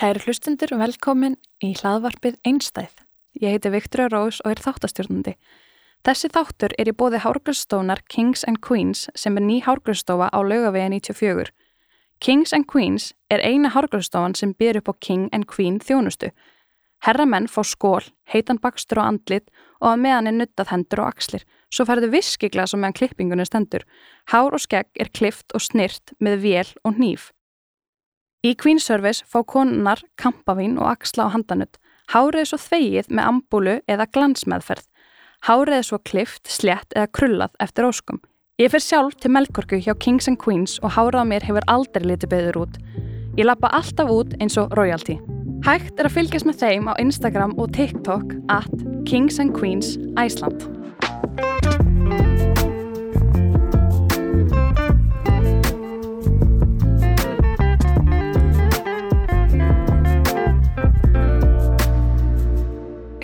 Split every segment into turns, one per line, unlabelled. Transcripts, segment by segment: Kæri hlustendur, velkomin í hlaðvarpið Einstæð. Ég heiti Viktoria Rós og er þáttastjórnandi. Þessi þáttur er í bóði Hárgröðstónar Kings and Queens sem er ný Hárgröðstofa á laugavegi 94. Kings and Queens er eina Hárgröðstofan sem byr upp á King and Queen þjónustu. Herramenn fá skól, heitan bakstur og andlit og að meðan er nuttað hendur og axlir. Svo færðu viskigla sem meðan klippingunni stendur. Hár og skegg er klift og snirt með vél og hníf. Í Queen Service fá konunar kampavín og axla á handanutt, hárið er svo þvegið með ambúlu eða glansmeðferð, hárið er svo klift, slett eða krullað eftir óskum. Ég fer sjálf til Melkorku hjá Kings and Queens og hárið á mér hefur aldrei litið beður út. Ég lappa alltaf út eins og royalty. Hægt er að fylgjast með þeim á Instagram og TikTok at Kings and Queens Iceland.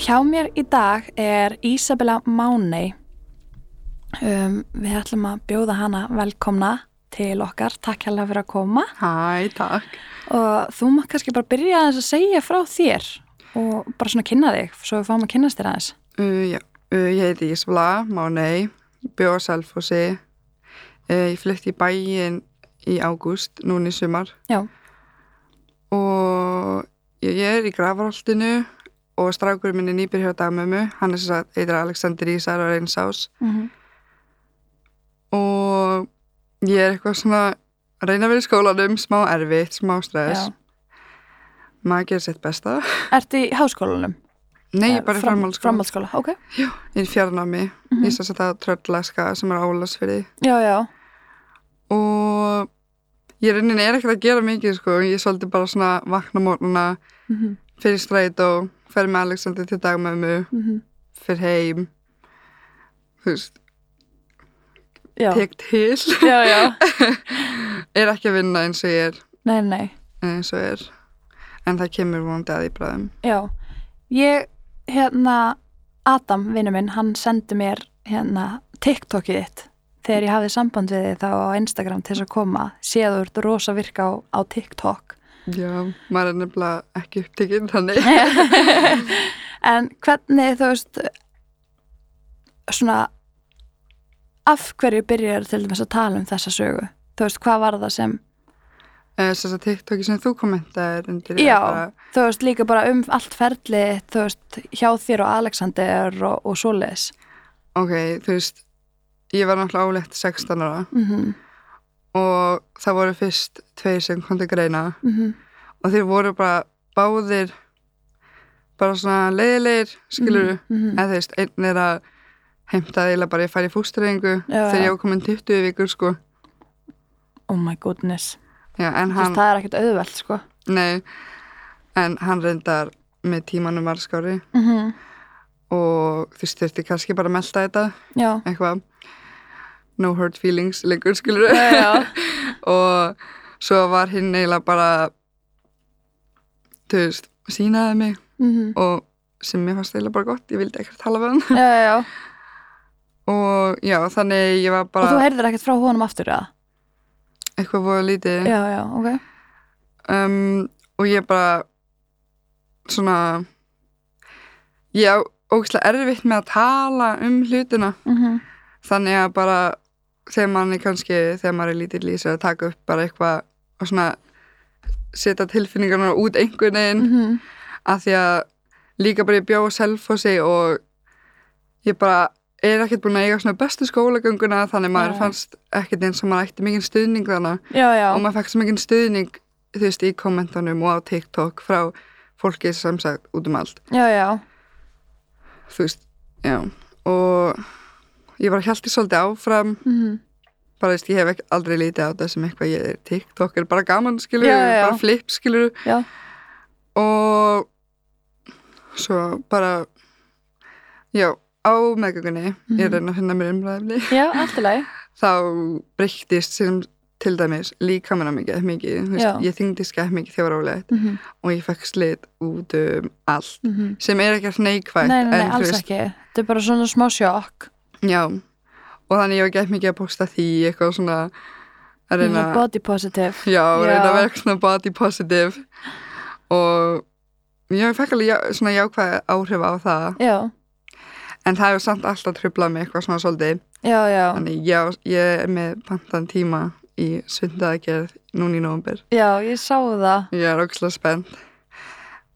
Hjá mér í dag er Ísabella Mánei. Um, við ætlum að bjóða hana velkomna til okkar. Takk hérlega fyrir að koma.
Hæ, takk.
Og þú maður kannski bara byrja aðeins að segja frá þér og bara svona kynna þig, svo við fáum að kynnast þér aðeins.
Uh, já, uh, ég heiti Ísbla, Mánei, bjó á Selfossi. Uh, ég flytti í bæin í ágúst, núna í sumar.
Já.
Og ég, ég er í grafarholtinu og strákurinn minn er nýpir hjá dagmömmu. Hann er sem sagt, heitir Alexander Ísar og Reynsás.
Mm
Og ég er eitthvað svona, að reyna að vera í skólanum, smá erfitt, smá stress.
Já.
Maður gerir sitt besta.
Ertu í háskólanum?
Nei, ég er bara í framhaldsskóla.
Framhaldsskóla, ok.
Ég er í fjarnámi.
Mhm.
Ég er sem sagt að tröllaska sem er álasfyrði.
Já, já.
og ég rauninni er ekkert að gera mikið sko, ég er svolítið bara svona vakna morgunna,
Mm -hmm.
fyrir stræt og fer með Alexander til dagmömmu
Mhm.
fyrir heim þú veist,
Já.
tek til
já, já.
er ekki að vinna eins og ég er
Nei, nei.
eins og er en það kemur vonandi að í bræðum
Já, ég, hérna, Adam, vinnu minn, hann sendi mér, hérna, TikTokið þitt þegar ég hafði samband við þið þá á Instagram til þess að koma, séð þú ert rosa virka á, á TikTok.
já, maður er nefnilega ekki upptekinn þannig
en hvernig, þú veist, svona, af hverju byrjar til dæmis að tala um þessa sögu? Þú veist, hvað var það sem,
þess að TikToki Eh, sem þú kommentaðir undir
Já.
er bara,
þú veist, líka bara um allt ferlið, þú veist, hjá þér og Alexander og, og svoleiðis.
ok, þú veist ég var náttúrulega álegt 16 ára
Mm -hmm,
og það voru fyrst tveir sem kom til greina
mm
og þeir voru bara báðir bara svona leiðilegir skilur mm.
Mhm,
eða þú veist, einn er að heimta eiginlega bara ég fari í fústræðingu
Já,
þegar
já.
ég var komin 20 vikur sko
Oh my goodness.
já, en
Þú veist,
hann,
það er ekkert auðvelt, sko.
nei en hann reyndar með tímanum arskári
Mm -hmm.
og þú veist, þurfti kannski bara að melta þetta
Já.
eitthvað no hurt feelings lengur skilur
Já, já.
og svo var hinn eiginlega bara þú veist, sínaði mig
Mm -hmm.
og sem mér fannst eiginlega bara gott, ég vildi ekkert tala við hann
já, já, já.
og já, þannig ég var
Og þú
bara
heyrðir ekkert frá honum aftur, eða?
eitthvað voða lítið
Já, já, ok.
um, og ég bara svona ég á ógæslega erfitt með að tala um hlutina
Mm -hmm.
þannig að bara þegar mann er kannski, þegar maður er lítill í sér að taka upp bara eitthvað og svona setja tilfinningarna út einhvern veginn
Mhm.
af því að líka bara ég bjó á Selfossi og ég bara er ekkert búin að eiga svona bestu skólagönguna þannig maður
Nei.
fannst ekkert eins og maður ætti mikinn stuðning þarna
Já, já.
og maður fekk svo mikinn stuðning þú veist í kommentunum og á TikTok frá fólki sem sagt út um allt
Já, já.
þú veist, já og ég bara hjælti svolítið áfram
Mm
bara veist, ég hef ekki aldrei lítið á þetta sem eitthvað ég er TikTok er bara gaman skilur,
Já, já, já.
bara flip skilur
Já.
og svo bara já, á meðgöngunni ég
Mhm.
reyna að finna mér umræðafni
Já, allt í lagi.
þá breyttist sem til dæmis líkamina mikið, mikið þú veist,
Já.
ég þyngdist skætt mikið þegar álegt
Mm -hmm.
og ég fekk slit út um allt sem er ekkert neikvægt
Mhm. Nei, nei, nei,
en, þú
alls
veist,
ekki. Þetta er bara svona smá sjokk.
já, og þannig ég var gett mikið að posta því eitthvað svona að
Svona
reyna
Body positive.
Já,
Já.
reyna að vera svona body positive og ég fekk alveg já, svona jákvæð áhrif á það
já,
en það hefur samt alltaf trublað mig eitthvað svona svolítið
já, já,
þannig já, ég er með pantan tíma í sundaðgerð núna í nóvumber
já, ég sá það
ég er ógislega spennt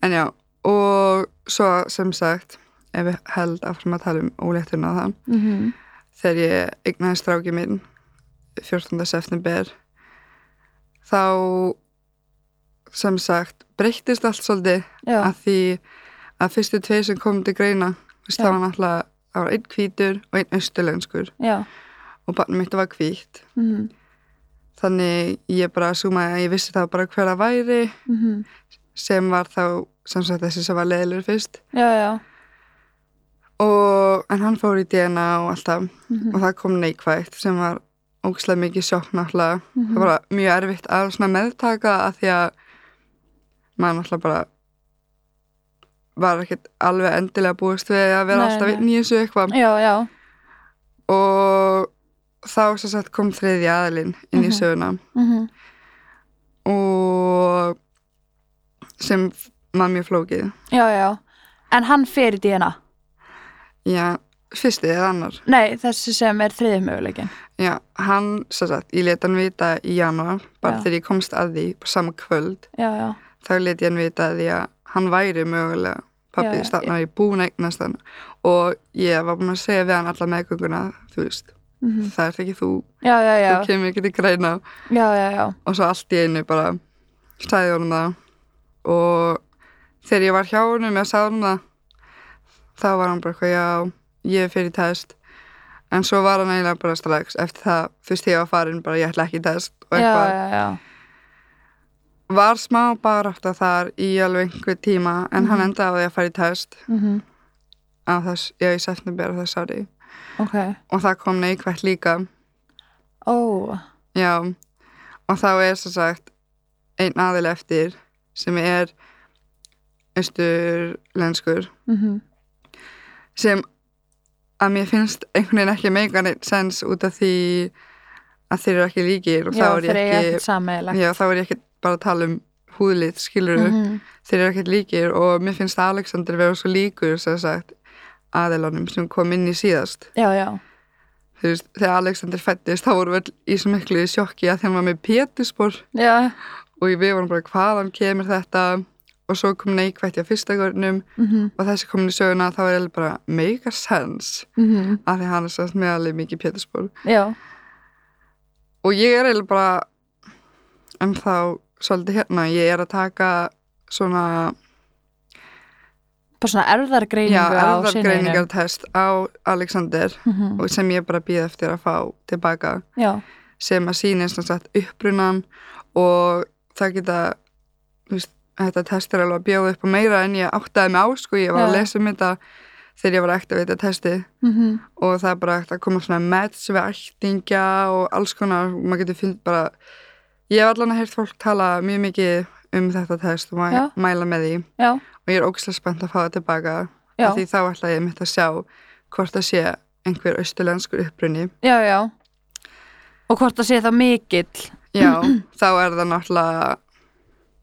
en já, og svo sem sagt ef við held áfram að tala um óléttuna og það
mm
þegar ég eignaði stráki minn 14. september þá sem sagt breyttist allt svolítið
já,
að því að fyrstu tveir sem komum til greina veist,
Já.
það var náttúrulega það var einn hvítur og einn austurlenskur
já
og barnum mitt var hvítt
mhm,
þannig ég bara súmaði að ég vissi það bara hver að væri
mhm,
sem var þá sem sagt þessi sem var leðilegur fyrst
já, já
og, en hann fór í DNA og allt það
mhm,
og það kom neikvægt sem var ógislega mikið sjokk náttúrulega
mhm,
það var bara mjög erfitt að svona meðtaka að því að maður náttúrulega bara var ekkert alveg endilega búist við að vera
Nei,
alltaf
nei.
einn í þessu eitthvað
já, já,
og þá sem sagt kom þriði aðilinn inn í
Mhm.
söguna
mhm,
og sem f- var mjög flókið
já, já en hann fer í DNA
já, fyrsti eða annar
nei, þessi sem er þriðið möguleikin
já, hann sem sagt, ég let hann vita í janúar, bara
Já.
þegar ég komst að því bara sama kvöld,
já, já,
þá let ég hann vita að því að hann væri mögulega
Já,
pappið
já,
stannar í búin eignast hann og ég var búin að segja við hann alla meðgönguna þú veist,
mhm,
það er ekki þú
já, já, já
þú kemur ekki til greina
já, já, já,
og svo allt í einu bara sagði honum það og þegar ég var hjá honum ég sagði honum það þá var hann bara eitthvað já ég er fyrir test en svo var hann eiginlega bara strax eftir það fyrst ég var farin bara ég ætla ekki í test og
já,
eitthvað
já, já
var smá barátta þar í alveg einhver tíma en hann
Mhm.
endaði á því að fara í test
mhm,
á þess, já í september á þess ári
ok
og það kom neikvægt líka
ó,
já og þá er sem sagt einn aðil eftir sem er austurlenskur
mhm,
sem að mér finnst einhvern veginn ekki meika neitt sens út af því að þeir eru ekki líkir og
já,
þá er
þeir eiga
ég
ekkert
ekki
sameiginlegt
já, þá er ég ekki bara að tala um húðlit skilur
Mhm,
þeir eru ekkert líkir og mér finnst að Alexander vera svo líkur sem sagt aðilunum sem kom inn í síðast
já, já,
þú veist, þegar Alexander fættist þá vorum við öll í svo miklu sjokki að þeim var með pétuspor
já,
og við vorum bara hvaðan kemur þetta og svo kom neikvætt í að fyrsta görnum
mhm,
og þessi komin í söguna þá er eiginlega bara make a sense
mhm
af því hann er sérst með alveg mikið pétuspor
já,
og ég er eiginlega bara en þá svolítið hérna ég er að taka svona
bara svona erðargreiningu á
já,
sinninum
erðargreiningartest á Alexander
Mhm,
og sem ég bara býð eftir að fá tilbaka
já,
sem að sýnist sem sagt, upprunan og það geta þú veist, þetta test er alveg að bjóða upp á meira en ég áttaði mig á sko, ég var að
Já.
lesa um þetta þegar ég var ekkert að veita testi
mhm,
og það er bara ekkert að koma svona meds við ættingja og alls konar og maður getur fyllt bara ég hef allan að heyrt fólk tala mjög mikið um þetta test og mæ,
Já.
mæla með því
já,
og ég er ógislega spennt að fá það tilbaka
já
af því þá ætla ég mitt að sjá hvort það sé einhver austurlenskur upprunni
Já, já. Og hvort það sé það mikill.
Já, þá er það náttúrulega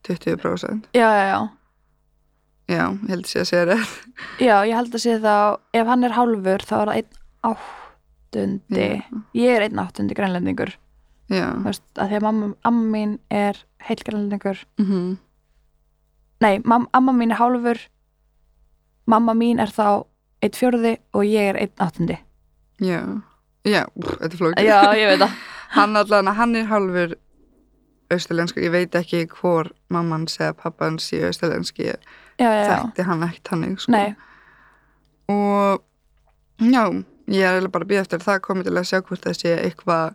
20%
Já, já, já.
Já, ég held að sé að sé rétt
Já, ég held að sé það, ef hann er hálfur þá er það einn áttundi. Ég er einn áttundi grænlendingur.
Já,
Þú veist, að því að mamma, amma mín er heill grænlendingur.
mhm
Nei, mam, amma mín er hálfur, mamma mín er þá einn fjórði og ég er einn áttundi.
Já, já, úf, þetta er flókið
Já, ég veit það.
Hann allan, hann er hálfur austurlensku, ég veit ekki hvor mamman segja pappans í austurlenski ég
Já, já, já.
þekkti hann ekkert hannig sko.
Nei,
og já, ég er eiginlega bara að býða eftir að það komið til að sjá hvort það sé eitthvað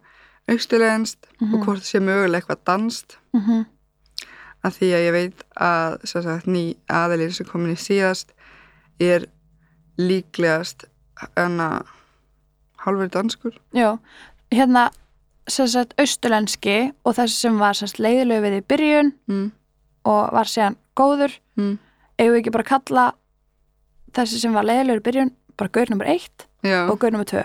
austurlenskt og
mhm,
hvort það sé mögulega eitthvað danst
mhm,
að því að ég veit að sem sagt, ný aðilinn sem komin í síðast er líklegast en að hálfur danskur
já. Hérna, sem sagt, austurlenski og þessi sem var sem sagt leiðilegu við í byrjun
mm.
og var síðan góður
Mm.
eigum við ekki bara að kalla þessi sem var leiðilegur í byrjun bara gaur nummer 1
já,
og gaur nummer 2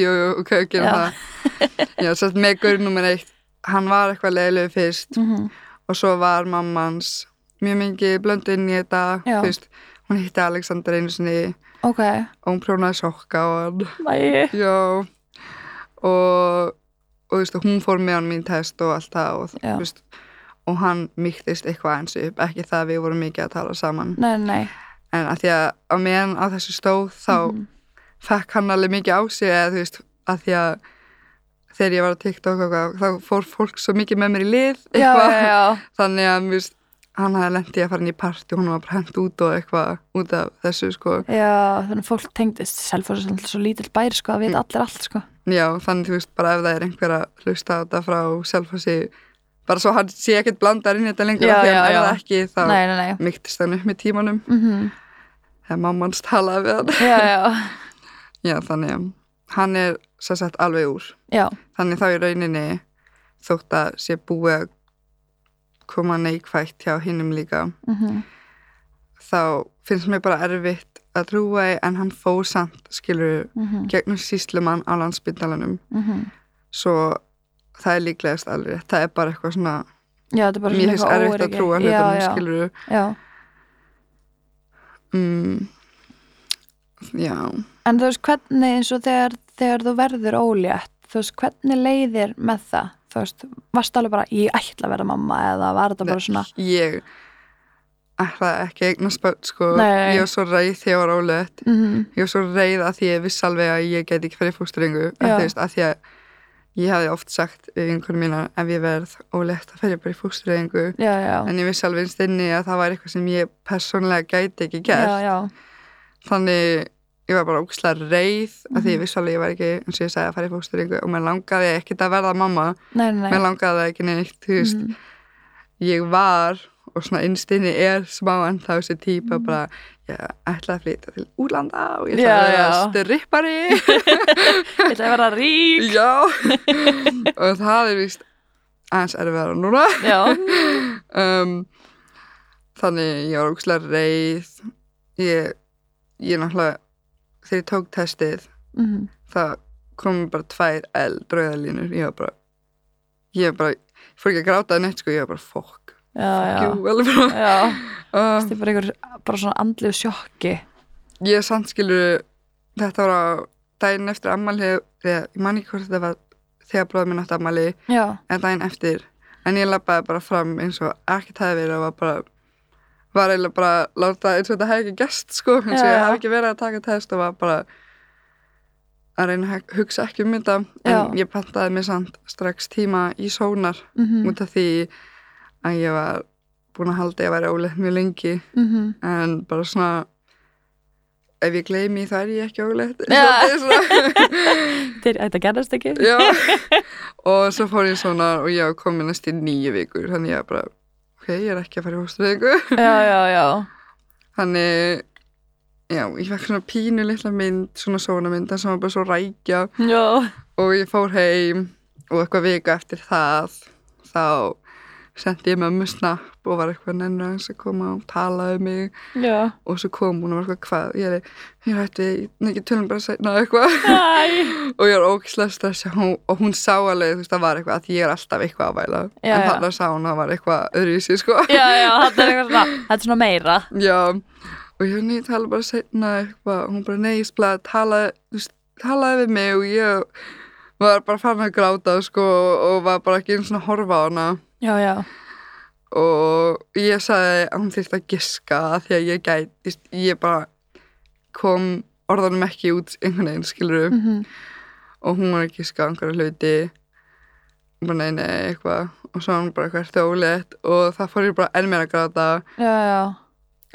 jú, jú, ok, gerum
Já.
það já, sem sagt, með gaur nummer eitt hann var eitthvað leiðilegu fyrst
mm -hmm.
og svo var mammans mjög mikið blöndu inn í þetta
Já.
þú veist, hún hitti Alexander einu sinni
ok,
og hún prjónaði sokka á hann
næ
já og, og þú veist, hún fór með hann mín test og allt það og,
Já.
þú veist, og hann miktist eitthvað eins upp ekki það að við vorum mikið að tala saman
Nei, nei,
en að því að á meðan á þessu stóð þá
Mhm.
fekk hann alveg mikið á sig eða þú veist, að því að þegar ég var að TikTok og eitthvað, þá fór fólk svo mikið með mér í lið
já,
eitthvað,
já, já,
þannig að þú veist, hann hafði lendið að fara inn í partí og hún var bara hent út og eitthvað út af þessu sko
já, þannig að fólk tengdist selfos er svo lítill bæri sko
Mm.
að við allir allt sko.
já, þannig þú veist, bara ef það er einhver að hlusta á þetta frá selfasi bara svo hann sé ekkert blandar inn í þetta lengur
Já,
af því að
já,
hann er
já.
það ekki, þá
Nei, nei, nei.
miktist hann upp með tímanum
Mhm.
þegar mammans talaði við hann
Já, já,
já, þannig að hann er sér sett alveg úr
já,
þannig þá í rauninni þótt að sé búið að koma neikvætt hjá hinnum líka
mhm.
þá finnst mér bara erfitt að trúa í en hann fór samt skilur
Mhm.
gegnum síslumann á landsbytalanum
Mhm.
svo það er líklegast alveg rétt. það er bara eitthvað svona
Já, þetta er bara
mér finnst
eitthvað
erfitt að
óöryggi.
trúa
já,
hlutunum
já,
skilur
já.
mm, já
En þú veist, hvernig eins og þegar, þegar þú verður ólétt, þú veist, hvernig leiðir með það? Þú veist, varst alveg bara, ég ætla að vera mamma eða var þetta bara svona,
ég ætlaði ekki að eignast spöld sko
Nei, nei, nei.
ég var svo reið þegar ég var ólegt
mhm,
ég var svo reið að því ég viss alveg að ég get ekki farið fóstringu
Já.
að því að ég hefði oft sagt við einhvern mína ef ég verð ólegt að ferja bara í fóstringu
já, já,
en ég vissi alveg einst inni að það var eitthvað sem ég persónlega gæti ekki gert
já, já,
þannig ég var bara ógæslega reið af því
Mhm.
ég vissi alveg ég var ekki eins og ég sagði að fara í fóstringu og mér langaði ekkit að verða mamma
nei, nei, nei.
mér langaði það ekki neitt þú veist,
Mhm.
ég var og svona innstinni er smá en þá þessi típa bara ég ætla að flytja til útlanda og ég
Mhm.
ætla
Já,
að vera
já.
strippari
Ég ætla að vera rík,
já og það er víst aðeins erfiðar núna
já,
um, þannig ég var ógæslega reið ég, ég náttúrulega þegar ég tók testið
mhm,
það kom bara tvær eldrauðalínur ég var bara ég var bara, ég fór ekki að gráta það neitt sko, ég var bara fokk,
já, já,
jú, alveg bara
já,
uh,
þetta er bara einhver, bara svona andlið sjokki,
ég er samt skilur þetta var á daginn eftir ammali þegar, ég man ekki hvort þetta var þegar bróðum minn átti ammali,
já,
en daginn eftir en ég lappaði bara fram eins og ekkert hefði verið og var bara var eiginlega bara að láta eins og þetta hefði ekki gest sko, eins
Já,
og ég
já.
hefði ekki verið að taka test og var bara að reyna að hug- hugsa ekki um þetta en
Já.
ég pantaði mér samt strax tíma í sónar
mhm,
út af því að ég var búin að halda ég að vera óleitt mjög lengi
mhm,
en bara svona ef ég gleymi þá er ég ekki óleitt
Já.
Svolítið
Þetta er- þetta gerðast ekki,
svona. Já. og svo fór ég svona og ég var komin næst í nýju vikur þannig ég var bara ok, ég er ekki að fara í hóströðingu
já, já, já,
þannig já, ég fekk svona pínu litla mynd svona sónamynda sem var bara svo rækja
já,
og ég fór heim og eitthvað vika eftir það þá sendi ég mömmu snapp og var eitthvað nennu hans að koma og tala um mig
já,
og svo kom hún og var eitthvað hvað ég er, ég er hætt við, nei ekki tölum bara seinna eitthvað
næ,
og ég er ógislega stressa hún, og hún sá alveg þú veist það var eitthvað að ég er alltaf eitthvað að væla
Já,
en
já.
þarna sá hún að það var eitthvað öðruvísi sko
já, já, þetta er eitthvað svona, þetta er svona meira,
já og ég nýtt tala bara seinna eitthvað hún bara nei, ég spila talaði þú veist, talaði við mig og ég var bara farin að gráta sko og var bara ekki einu svona að horfa á hana
já, já,
og ég sagði að hún þyrfti að giska af því að ég gæti, ég bara kom orðanum ekki út einhvern veginn skilur
mhm,
og hún var að giska á einhverja hluti Ég bara nei nei eitthvað og svo var hún bara hvert ólegt og það fór ég bara enn meira að gráta
já, já,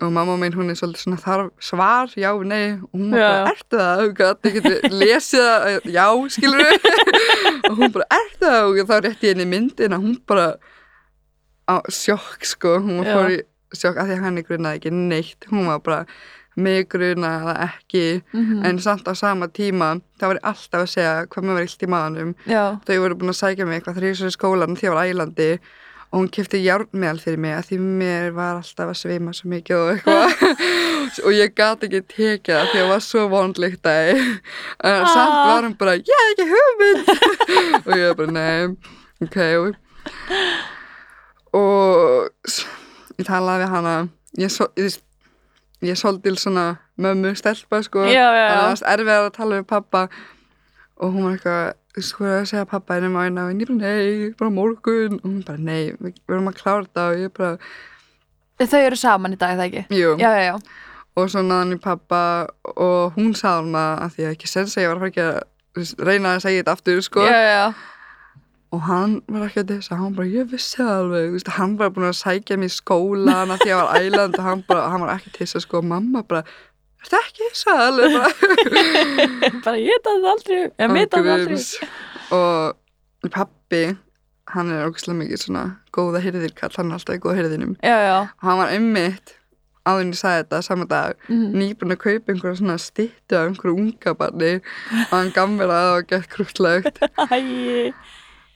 og mamma mín hún er svolítið svona þarf svar, já, nei og hún var
Já,
bara,
já.
ertu það, hún gæti ekki lesið það, já, skilur og hún bara, ertu það og þá rétti ég henni myndin að hún bara á sjokk, sko, hún
Já.
fór í sjokk af því að henni grunaði ekki neitt hún var bara, mig grunaði það ekki
Mm.
mhm,
en samt á sama tíma þá var ég alltaf að segja hvað mér var illt í maðanum
já,
þau voru búin að sækja mig eitthvað þrjusur í skólan því ég var ælandi og hún kefti járnmeðal fyrir mig að því mér var alltaf að svima svo mikið og eitthvað og ég gat ekki tekið það því að var svo vondlíkt að samt var hún bara, ég hef ekki hugmynd og ég var bara, nei ok og s- ég talaði við hana ég, svo, ég, ég er svolítil svona mömmu stelpa sko
Já, já,
þannig að það
já.
varst erfið að tala við pappa og hún var eitthvað þú veist hvað er að segja pappa en ég má eina og ég bara nei, bara á morgun og hún bara nei, við við erum að klára þetta og ég bara,
Þau eru saman í dag, er það ekki?
jú
Já, já, já.
og svo náðan í pappa og hún sagði hún að að því að ekki sensa ég var að fara ekki að þú veist, reyna að segja þetta aftur sko
Já, já, já.
og hann var ekki að þess að hann bara, ég vissi það alveg, þú veist, hann var búin að sækja mig í skólan að því að ég var æland og hann, bara, hann var ekki til þess að sko, og mamma bara, er það ekki þess að alveg bara,
bara ég veit að það aldrei ég veit að það aldrei
Guðs. og pappi hann er ógæslega mikið svona góða hyrðir kall, hann er alltaf í góða hyrðinum
já, já,
og hann var einmitt áður en ég sagði þetta saman dag
mm.
nýbúin að kaupa einhverja svona stýttu af einhverju unga barni og hann gammir að það og gett krútlegt
Æi.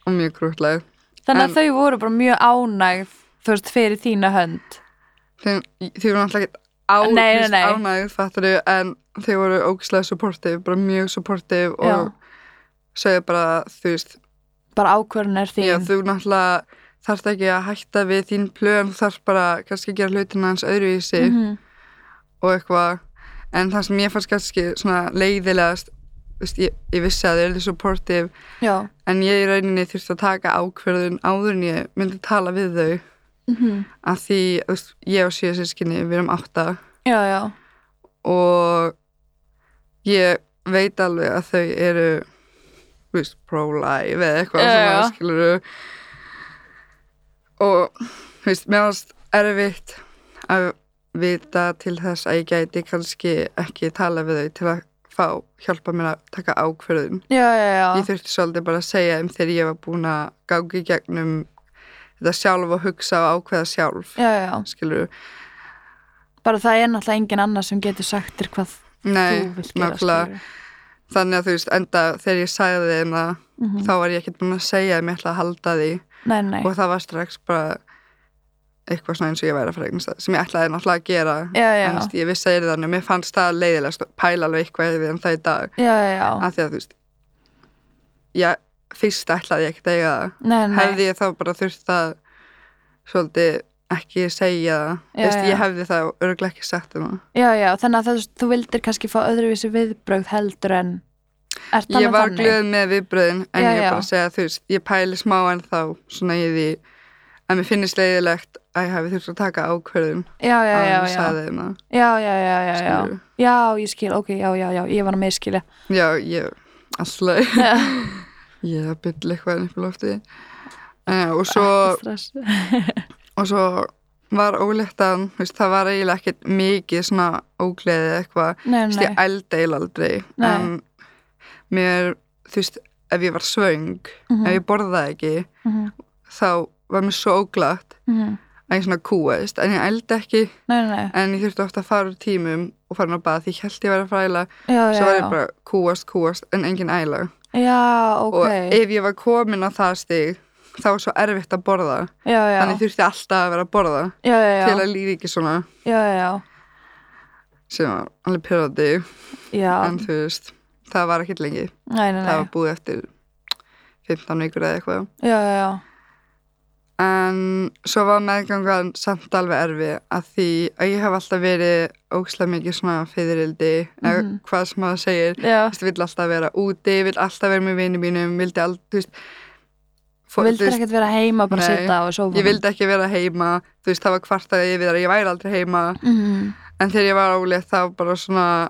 og mjög krútlegt
þannig að
En-
þau voru bara mjög ánægð þú veist, fyrir þína hönd
þeim, þau voru náttúrulega ekkert á,
Nei, nei,
víst
nei.
ánægð fattar þau, en þau voru ógislega supportive, bara mjög supportive
Já.
og segja bara, þú veist
bara ákvörðun er þín
já, þú náttúrulega þarft ekki að hætta við þín plön, þú þarft bara kannski að gera hlutina hans öðruvísi
Mhm.
og eitthvað, en það sem ég fannst kannski svona leiðilegast þú veist, ég, ég vissi að þau eru supportive
já.
en ég í rauninni þurfti að taka ákverðun áður en ég myndi tala við þau
Mhm.
að því, þú veist, ég og síða sískinni við erum átta
já, já,
og ég veit alveg að þau eru þú veist, pro-life eða eitthvað
Já, já.
svona, skilur og þú veist, mér varst erfitt að vita til þess að ég gæti kannski ekki tala við þau til að fá hjálpa mér að taka ákverðun
já, já, já.
ég þurfti svolítið bara að segja þeim þegar ég var búin að gangi gegnum þetta sjálf og hugsa og ákveða sjálf
já, já.
skilur,
bara það er náttúrulega engin annar sem getur sagt þér hvað
nei,
þú vilt gera
nákvæmlega þannig að þú veist, enda þegar ég sagði þeim það
mm -hmm.
þá var ég ekkert búin að segja þeim ég ætla að halda því
nei, nei,
og það var strax bara eitthvað svona eins og ég væri að fara eignast það sem ég ætlaði náttúrulega að gera
já, já,
en þú veist, ég vissi að ég er þannig og mér fannst það leiðilegast að pæla alveg eitthvað við en það í dag
já, já, já.
af því að þú veist ég, fyrst ætlaði ég ekkert að eiga það
nei, nei,
hefði ég þá bara þurft að svolítið ekki segja það
Já,
Þú veist,
já.
ég hefði það örgulega ekki sagt um það
já, já, þannig að það, þú vildir kannski fá öðruvísi viðbrögð heldur en er
ég
þannig
var
þannig
glöð með viðbröðin en
Já,
ég
já.
bara segja þú veist, ég pæli smá en þá svona í því að mér finnist leiðilegt að ég hefði þurft að taka ákverðun
já, já,
að
já, já.
hann sagði þeim það
já, já, já, já, já.
hérna, skilurðu.
Já, ég skil, ok, já, já, já, ég var að meðskilja.
já, ég alltaf
Já.
ég er að bylla eitthvað upp í lofti uh, og svo
Stress.
og svo var óléttan þú veist, það var eiginlega ekkert mikið svona ógleðið eða eitthvað
Nei,
Þú veist,
nei.
ég eldeil aldrei
Nei.
en mér, þú veist, ef ég var svöng
Mhm.
ef ég borðaði ekki
Mhm,
þá var mér svo óglatt
mhm.
að ég svona kúaðist, en ég eldi ekki
Nei, nei, nei.
en ég þurfti ofta að fara úr tímum og fara inn á bað, því ég held ég væri að fræla
Já, já,
svo var ég
já.
bara kúast, kúast, en engin æla
Já, ok.
og ef ég var komin á það stig þá var svo erfitt að borða
Já, já,
þannig þurfti alltaf að vera að borða
já, já,
til
já,
að líði ekki svona
já, já,
sem var alveg pyrrandi
já,
en þú veist, það var ekkert lengi
nei, nei,
það
nei,
var búið eftir 15 vikur eða eitthvað
já, já, já,
en svo var meðgangan samt alveg erfi að því að ég hef alltaf verið ókslega mikið svona fyririldi eða
Mhm.
hvað sem maður segir
já,
Þú veist, vill alltaf vera úti, vill alltaf vera með vinið mínum vildi alltaf, þú veist fó-
þú
þú
vildir
veist,
ekkert vera heima bara
Nei.
sita og sofa.
ég vildi ekki vera heima þú veist, það var kvartaði yfir það að ég væri aldrei heima
Mhm,
en þegar ég var álega þá bara svona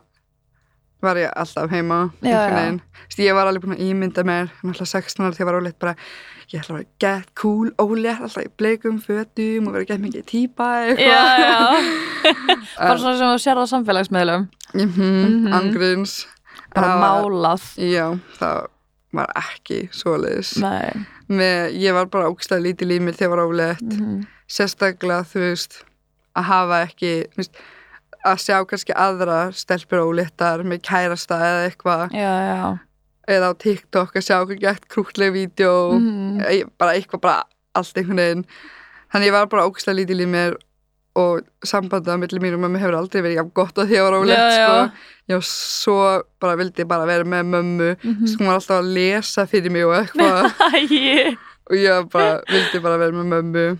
var ég alltaf heima
Já,
einhvern
já.
veginn. Þú veist, ég var alveg búin að ímynda mér náttúrulega 16 ára þegar ég var ólega bara ég ætla að vera gett cool, ólega alltaf í bleikum fötum og vera gett mikið
Já,
típa
já, bara svona sem þú sér það á samfélagsmiðlum,
mm
Mhm.
angriðins
bara
Það var-
málað.
já, það var ekki svoleiðis
Nei,
Með, ég var bara ógislega lítið líf mér þegar ég var ólega
mhm,
sérstaklega þú veist að hafa ekki þú veist, að sjá kannski aðra stelpur óléttar með kærasta eða eitthvað
já, já,
eða á TikTok að sjá okkur gett krútleg vídeo
mhm,
e- bara eitthvað bara allt einhvern veginn þannig ég var bara ógislega lítil í mér og sambandað millir mín og mömmu hefur aldrei verið jafn gott að því að ég var
Já,
ólétt
já.
sko. já, svo bara vildi ég bara vera með mömmu
mhm,
sko hún var alltaf að
Sko.
lesa fyrir mig og eitthvað
æi,
og ég bara, vildi bara vera með mömmu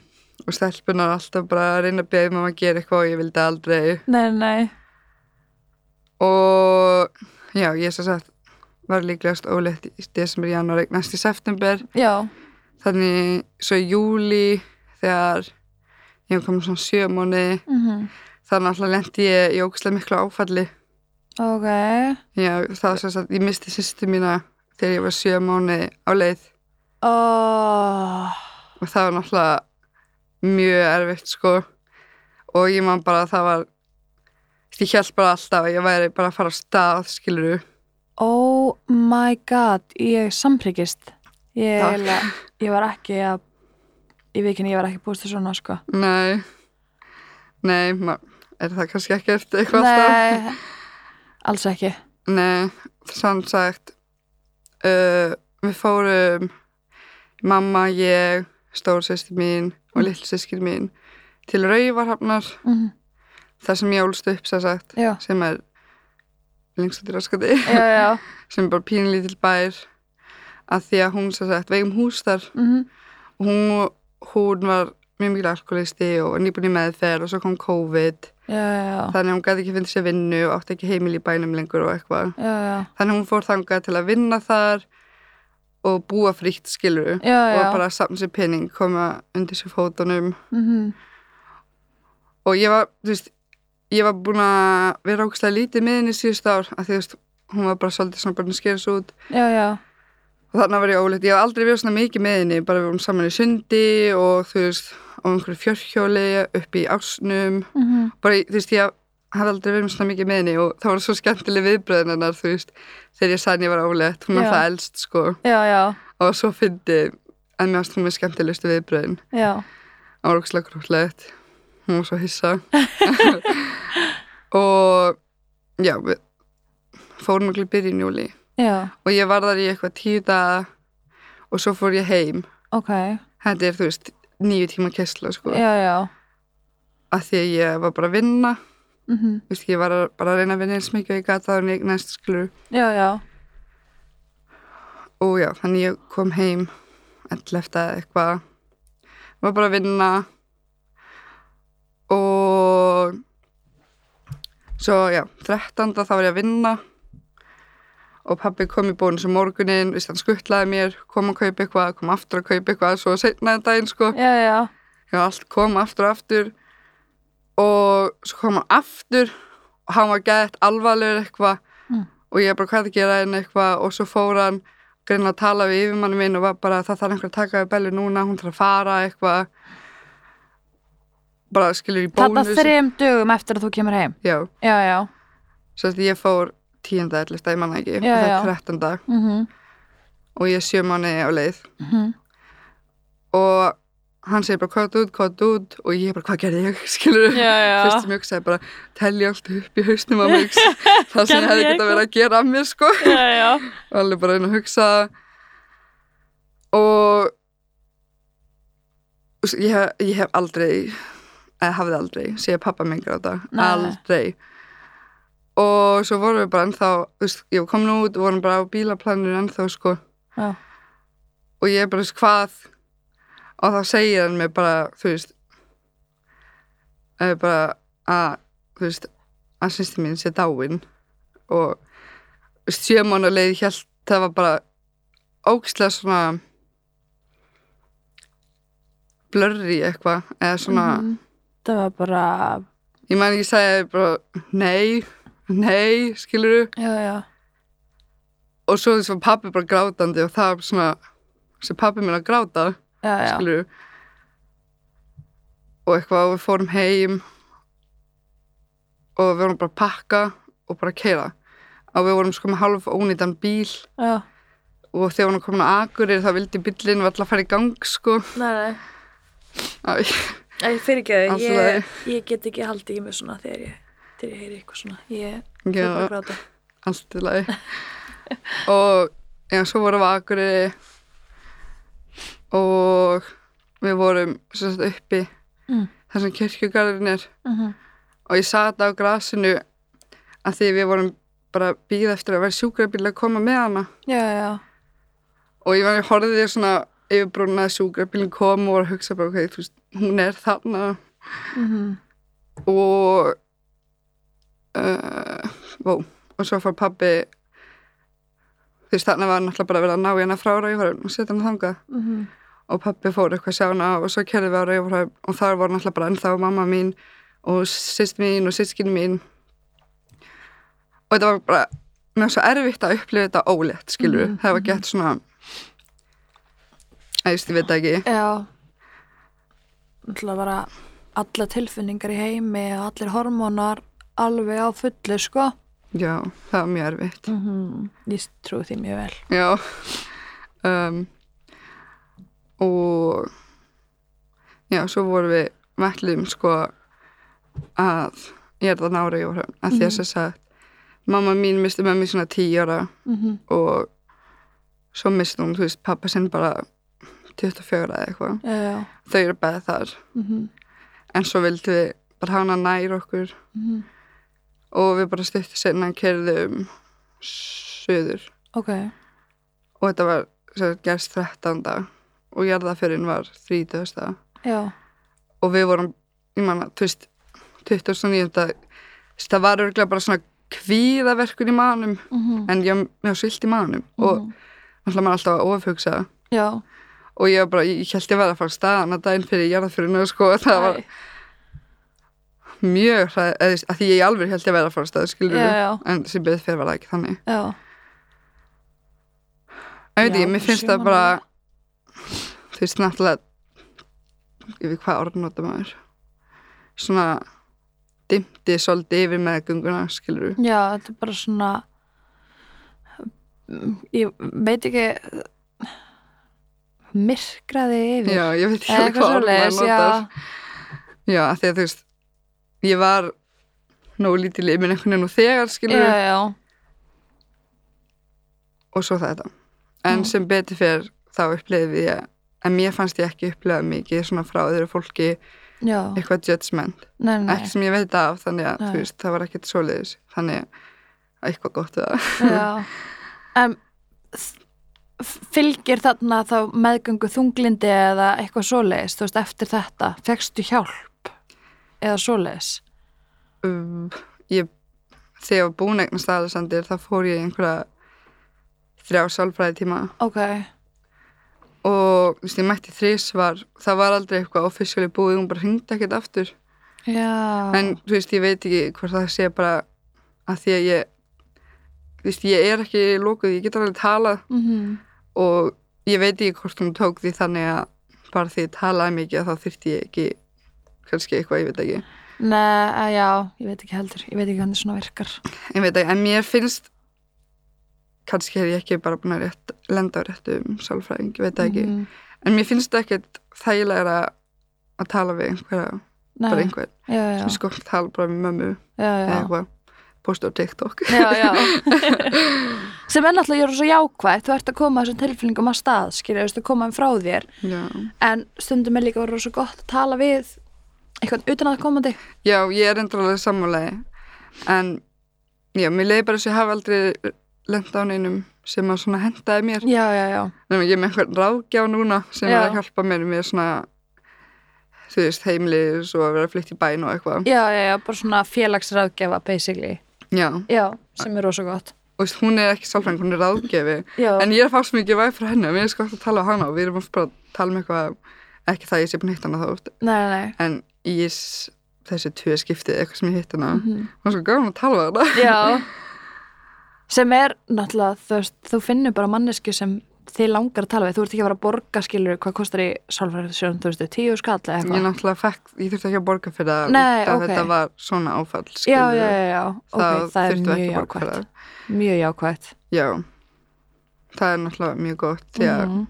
og stelpunar alltaf bara að reyna að beða um að gera eitthvað og ég vildi aldrei
Nei, nei,
og já, ég sem sagt var líklegast óleitt í desember, janúar, næst í september
já,
þannig svo í júli þegar ég var komin svona sjö mónuði
mhm,
þannig alltaf lendi ég í ógustlega miklu áfalli
ok,
já, það var sem sagt, ég misti sýstu mína þegar ég var sjö mónuði á leið
oh,
og það var náttúrulega mjög erfitt sko og ég man bara að það var ég held bara alltaf að ég væri bara að fara á stað skilur
oh my god, ég samprikist, ég,
Takk.
eiginlega- ég var ekki að, ég veit ég var ekki búist til svona, sko.
nei nei, ma- er það kannski ekkert eitthvað alltaf
Nei, alls ekki.
nei, sann sagt uh, við fórum mamma, ég stórsýstir mín og lillsýskir mín til Rauvarhafnar
Mm,
þar sem ég ólst upp sem sagt
já,
sem er lengst út í raskati
já, já,
sem er bara pínlítil bær að því að hún sem sagt veigum hús þar
mhm,
hún, hún var mjög mikil alkoholisti og nýbúin í meðferð og svo kom COVID
já,
Ah.
já, já,
þannig að hún gæti ekki fundið sér vinnu og átti ekki heimil í bænum lengur og eitthvað
já, já,
þannig að hún fór þangað til að vinna þar og búa frítt skiluru
já,
og
já,
bara saman sér pening koma undir sér fótunum
mhm,
og ég var, þú veist ég var búin að vera ógustlega lítið með henni síðust ár að því þú veist, hún var bara svolítið svona bara að skera svo út
já, já,
og þarna var ég óleitt, ég hef aldrei verið svona mikið með henni bara við vorum saman í sundi og þú veist, á einhverju fjörhjóli upp í ásnum,
mhm,
bara í- þú veist, ég hef aldrei verið svona mikið með henni og það var svo skemmtileg viðbröðin hennar, þú veist þegar ég sann ég var óleitt,
Já.
hún var það elst sko,
já, já,
og svo fyndi en mér varst hún með skemmtilegustu viðbröðin
já,
það var okkur grútlegt hún var svo hissa og já, við fórum okkur byrjun júli
já,
og ég var þar í eitthvað tíu daga og svo fór ég heim
ok,
þetta er, þú veist, nýju tíma kessla, sko,
já, já,
að því að ég var bara að vinna,
mhm,
þú veist, ég var að- bara að reyna að vinna eins mikið og ég gata þannig ég næst, skilur,
já, já,
og já, þannig ég kom heim, ell eftir eitthvað, var bara að vinna og svo, já, 13. þá var ég að vinna og pabbi kom í bónus um morgunin, þú veist, hann skuttlaði mér, kom að kaupa eitthvað, kom aftur að kaupa eitthvað, svo seinnaði daginn, sko,
já, já,
Já, allt kom aftur og aftur og svo kom hann aftur og hann var gætt alvarlegur eitthvað
Mm.
og ég bara hvað er að gera henni eitthvað og svo fór hann greina að tala við yfirmanni minn og var bara það þarf einhver að taka við bellu núna, hún þarf að fara eitthvað bara skilur í
Þarna
bónus
þrejum dögum eftir að þú kemur heim.
Já,
Já, já.
svo að ég fór tíunda ellista, ég manna ekki,
Já,
og það
já.
er þrettanda
Mhm,
og ég er sjö manni á leið
mhm,
og hann segir bara hvað út, hvað út og ég bara hvað gerði ég, skilur
Já, já.
fyrst sem ég hugsaði bara telja allt upp í hausnum á mig það sem
Gerði
ég hefði
ég
geta verið að gera af mér sko
Já, já.
og alveg bara einn að hugsa og og s- ég, hef- ég hef aldrei eða hafði aldrei, sé pappa minn gráta
Nei.
aldrei og svo vorum við bara ennþá þú veist, ég var komin út, vorum bara á bílaplaninu ennþá sko
Já.
og ég bara, þú veist, hvað og þá segir hann mér bara, þú veist eh, bara að, þú veist að sýsti mín sé dáin og þú veist, sjö mánu leið hjælt, það var bara ógislega svona blurry eitthvað eða svona,
Mhm. Það var bara,
ég man ekki segja bara, nei, nei skilur
já, já,
og svo þess var pappi bara grátandi og það var svona, sem pappi mér að gráta
já, já.
skilur og eitthvað og við fórum heim og við vorum bara að pakka og bara að keira og við vorum sko með halv ónýtan bíl
Já,
og þegar hún var komin að Akureyri þá vildi bíllinn var alltaf að fara í gang sko
Nei, nei,
Æ,
Æ, ég fyrir ekki
Allt
það,
í lagi.
ég, ég get ekki haldið í mig svona þegar ég, þegar ég heyri eitthvað svona, ég fyrir bara
já,
að gráta.
allt í lagi og já, svo vorum við á Akureyri og við vorum svo sagt uppi
Mm.
þar sem kirkjugarðin er
mhm,
og ég sat á grasinu að því við vorum bara að býða eftir að vera sjúkrabíl að koma með hana
já, já,
og ég var að horfið þér svona yfirbrúnaði sjúkrabílinn kom og var að hugsa bara ok, þú veist, hún er þarna
Mm -hmm.
og uh, vó, og svo fór pabbi þú veist þarna var náttúrulega bara að vera að ná í hana frá rauðhörn og setja hana þangað
Mhm.
og pabbi fór eitthvað að sjá hana og svo kerði við á rauðhörn og þar voru náttúrulega bara ennþá mamma mín og sýst mín og sískin mín og þetta var bara mér var svo erfitt að upplifa þetta ólétt skilur,
Mhm,
það var gett svona að ég veit það ekki
Já Náttúrulega bara alla tilfinningar í heimi og allir hormónar alveg á fullu sko
já, það var mjög erfitt
mm Ég trúi því mjög vel
Já um, og já, svo vorum við vellum sko að ég er það nára í orðum að því að þess að mamma mín misti með mér svona tíu ára
mm -hmm.
og svo misti hún, þú veist, pappa sinn bara 24 eða eitthvað
Já
þau eru bæði þar
mm -hmm.
en svo vildum við bara hana nær okkur og við bara stuttu sinna kerðum söður
Ok
og þetta var sem sagt, gerst 13. og jarðaförinn var 30.
Já
og við vorum, ég manna, þú veist 29. þú veist, það var örgulega bara svona kvíðaverkur í manum
mm
en ég var svilt í manum og
Mhm.
náttúrulega maður alltaf að ofhugsa
Já
og ég var bara, ég held ég verið að fara á staðan að daginn fyrir jarðaförinu sko, það var
Æ,
mjög hræð, eða þú veist, að því ég alveg held ég verið að fara á staðan, skilur
Já, já,
en sem betur fyrir var það ekki þannig
já
ég veit
Já,
ekki, mér finnst það
sumar
bara
alveg.
þú veist náttúrulega yfir hvað orð nota maður svona dimti svolítið yfir með gunguna skilur
Já, þetta er bara svona ég veit ekki myrkraði yfir
já, ég veit ekki
Eða
alveg
eitthvað
hvað orð maður
svoleiðis,
notar
já,
já, af því að þú veist ég var nógu lítil yfir einhvern veginn og þegar
já,
skilur
já,
og svo þetta en
Já.
sem betur fyrir þá upplifði ég en mér fannst ég ekki upplega mikið svona frá öðru fólki
já,
eitthvað judgment
nei, nei,
ekki sem ég veit af þannig að
Nei.
þú veist, það var ekkert svoleiðis þannig að eitthvað gott við það
já. En þ- fylgir þarna þá meðgöngu þunglindi eða eitthvað svoleiðis, þú veist, eftir þetta, fegstu hjálp eða svoleiðis?
Um, ég, þegar ég var búin að eignast Alexander þá fór ég í einhverja þrjá sálfræði tíma
Ok,
og þú veist, ég mætti þrís var það var aldrei eitthvað officially búið hún bara hringdi ekkert aftur
já,
en þú veist, ég veit ekki hvort það sé bara að því að ég þú veist, ég er ekki lókuð ég get alveg talað
Mhm.
og ég veit ekki hvort hún tók því þannig að bara því ég talaði mikið þá þyrfti ég ekki kannski eitthvað, ég veit ekki
nei, að já, ég veit ekki heldur, ég veit ekki hvernig svona virkar.
ég veit ekki, en mér finnst kannski er ég ekki bara búin að rétt, lenda á réttum sálfræðing, ég veit það ekki
Mhm.
en mér finnst það ekkert þægilega að tala við einhverja, bara
Nei,
einhver
já, já,
sem sko tala bara við mömmu
já,
eða
já.
eitthvað, posta á TikTok
já, já. sem er náttúrulega ég er svo jákvæð þú ert að koma þessum tilfinningum að stað skilja, þú veist að koma þeim frá þér
já.
en stundum er líka verið svo gott að tala við eitthvað utan að komandi
já, ég er endralega sammálaði en já, mér leiði bara þess að ég hafa aldrei lenda á neinum sem að svona hendaði mér
já, já, já,
Nefnum, ég er með einhvern ráðgjá núna sem
Já.
er að hjálpa mér með svona þú veist, heimlis og að vera flytt í bæn og eitthvað
já, já, já bara svona félagsráðgefa basically,
Já,
já, sem er rosa gott
og veist, hún er ekki sálfræðing, hún er ráðgefi
já,
en ég er að fá svo mikið væg frá henni og mér er sko hægt að tala á hana og við erum oft bara að tala um eitthvað ekki það að ég sé búin að hitta hana þá oft
nei, nei, nei
en í s- þessi tvö skiptið eitthvað sem ég hitt hana mm
Mhm.
hún er svo gaman að tala við hana
já sem er náttúrulega þú, veist, þú finnur bara mannesku sem þið langar að tala við, þú ert ekki að vera að borga skilur hvað kostar í sálfræðisjón, þú veist, tíu skall eða
ég
eitthvað
náttúrulega fekk, ég þurfti ekki að borga fyrir það
Nei,
út af
ok.
þetta var svona áfall
já, já,
skilurðu.
já, já, ok, það er
þurftum við
mjög
ekki að borga fyrir
jákvætt
það.
mjög jákvætt
já, það er náttúrulega mjög gott því að
Mhm.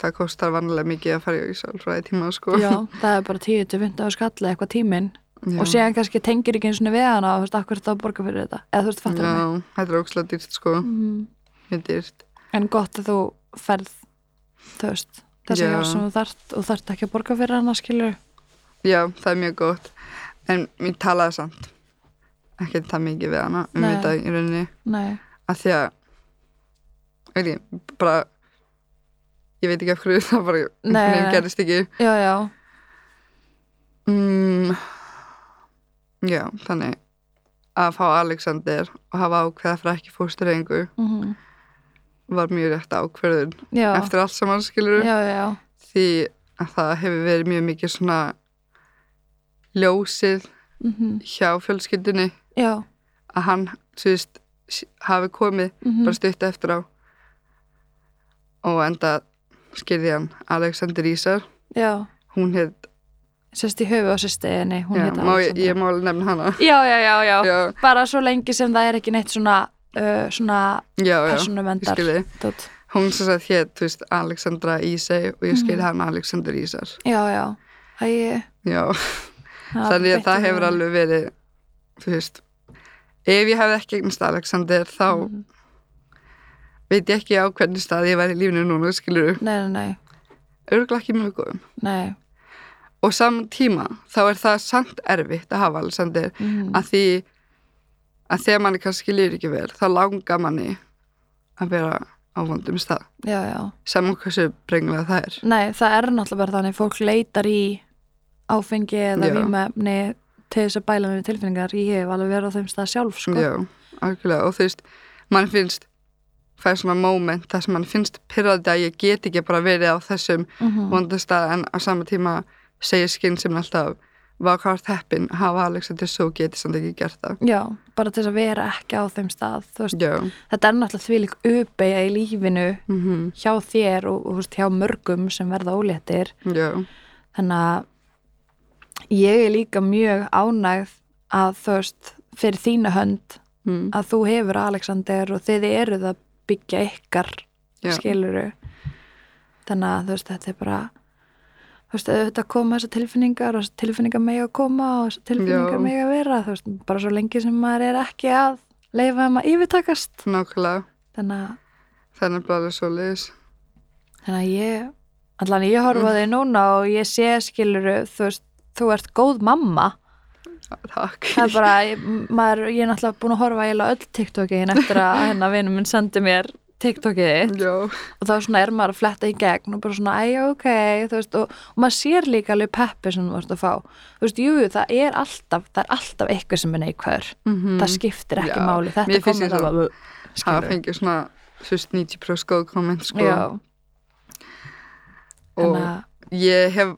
það kostar vanlega mikið að fara í sálfræði tíma sko.
já, það er bara 10 til 15 skalla eitthvað tíminn
Já.
og séðan kannski tengir ekki eins og við hana og þú veist, akkur það að borga fyrir þetta eða þú veist, fattur
já,
mig
þetta er ókslega dýrt sko,
mm.
mjög dýrt
en gott að þú ferð þú veist, þess að
Já.
hjá sem þú þart og þart ekki að borga fyrir hana, skilur
Já, það er mjög gott En ég talaði samt ekki það mikið við hana um
Nei.
þetta í rauninni
nei,
að því að veit ég, bara ég veit ekki af hverju það bara
Nei,
mér
nei.
gerist ekki
já, já
Mm, já, þannig að fá Alexander og hafa ákveða fyrir ekki fóstureyðingu
-hmm.
var mjög rétt ákveðun
Já,
Mhm. eftir allt saman skilur
já, já, já.
því að það hefur verið mjög mikið svona ljósið
Mhm.
hjá fjölskyldunni
Já,
að hann, þú veist, s- hafi komið
mhm.
bara stutt eftir á og enda skilði hann Alexander Ísar
já.
hún heit,
Sest í höfu á sérsteginni, hún
já,
heita
má, ég,
Alexandra.
ég má alveg nefna hana
Já, já, já, já,
já,
Bara svo lengi sem það er ekki neitt svona, uh, svona
já, já, ég
personumendar.
skilði
Dótt.
hún sem sagt hétt, þú veist, Alexandra Ísei og ég skilði
Mhm.
hann Alexander Ísar
Já, já. Það ég...
já, þannig að
breytti
það hefur
huganum.
alveg verið þú veist ef ég hefði ekki eignast Alexander þá
Mhm.
veit ég ekki á hvernig stað ég væri í lífinu núna, skilur
Nei, nei, nei.
örgulega ekki mjög góðum
nei.
og saman tíma þá er það samt erfitt að hafa Alexander
Mm.
að því að þegar manni kannski líður ekki vel þá langar manni að vera á vondum stað
Já, já.
saman hversu brenglega það er
Nei, það er náttúrulega bara þannig fólk leitar í áfengi eða
Já.
vímefni til þess að bæla með tilfinningar ég hef alveg verið á þeim stað sjálf sko.
Já, algjörlega og þú veist, mann finnst fær svona moment þar sem mann finnst pyrrandi að ég get ekki bara verið á þessum
Mhm.
vondastað en á sama tíma segir skinn sem alltaf var hvort heppin að hafa Alexander svo getið samt ekki gert það
Já, bara til þess að vera ekki á þeim stað þú veist,
Já,
þetta er náttúrulega þvílík uppeyja í lífinu
mm
hjá þér og, og þú veist, hjá mörgum sem verða óléttir
já,
þannig að ég er líka mjög ánægð að þú veist, fyrir þína hönd
mm,
að þú hefur Alexander og þið eruð að byggja ykkar
já.
skiluru þannig að þú veist þetta er bara þú veist þetta koma þessar tilfinningar og þessar tilfinningar megi að koma og þessar
Já.
tilfinningar megi að vera þú veist bara svo lengi sem maður er ekki að leifa þeim að yfirtakast
nákvæmlega
þannig að,
þannig bara svo leiðis
þannig að ég allan ég horfa á þig núna og ég sé skiluru þú veist þú ert góð mamma
Takk
það er bara, ég, maður, ég er náttúrulega búin að horfa eiginlega á öll TikTokin eftir að hennar vinur minn sendi mér TikTokið þitt
Já,
og þá svona er maður að fletta í gegn og bara svona, æja, ok, þú veist og, og maður sér líka alveg peppi sem maður að fá þú veist, jú, jú, það er alltaf það er alltaf eitthvað sem er neikvæður
Mhm.
það skiptir ekki
Já,
máli, þetta
mér
komið
finnst eins og-
það bara
það
skilur,
fengið sko svona fyrst 90% góð komment sko
já,
og
þannig að
ég hef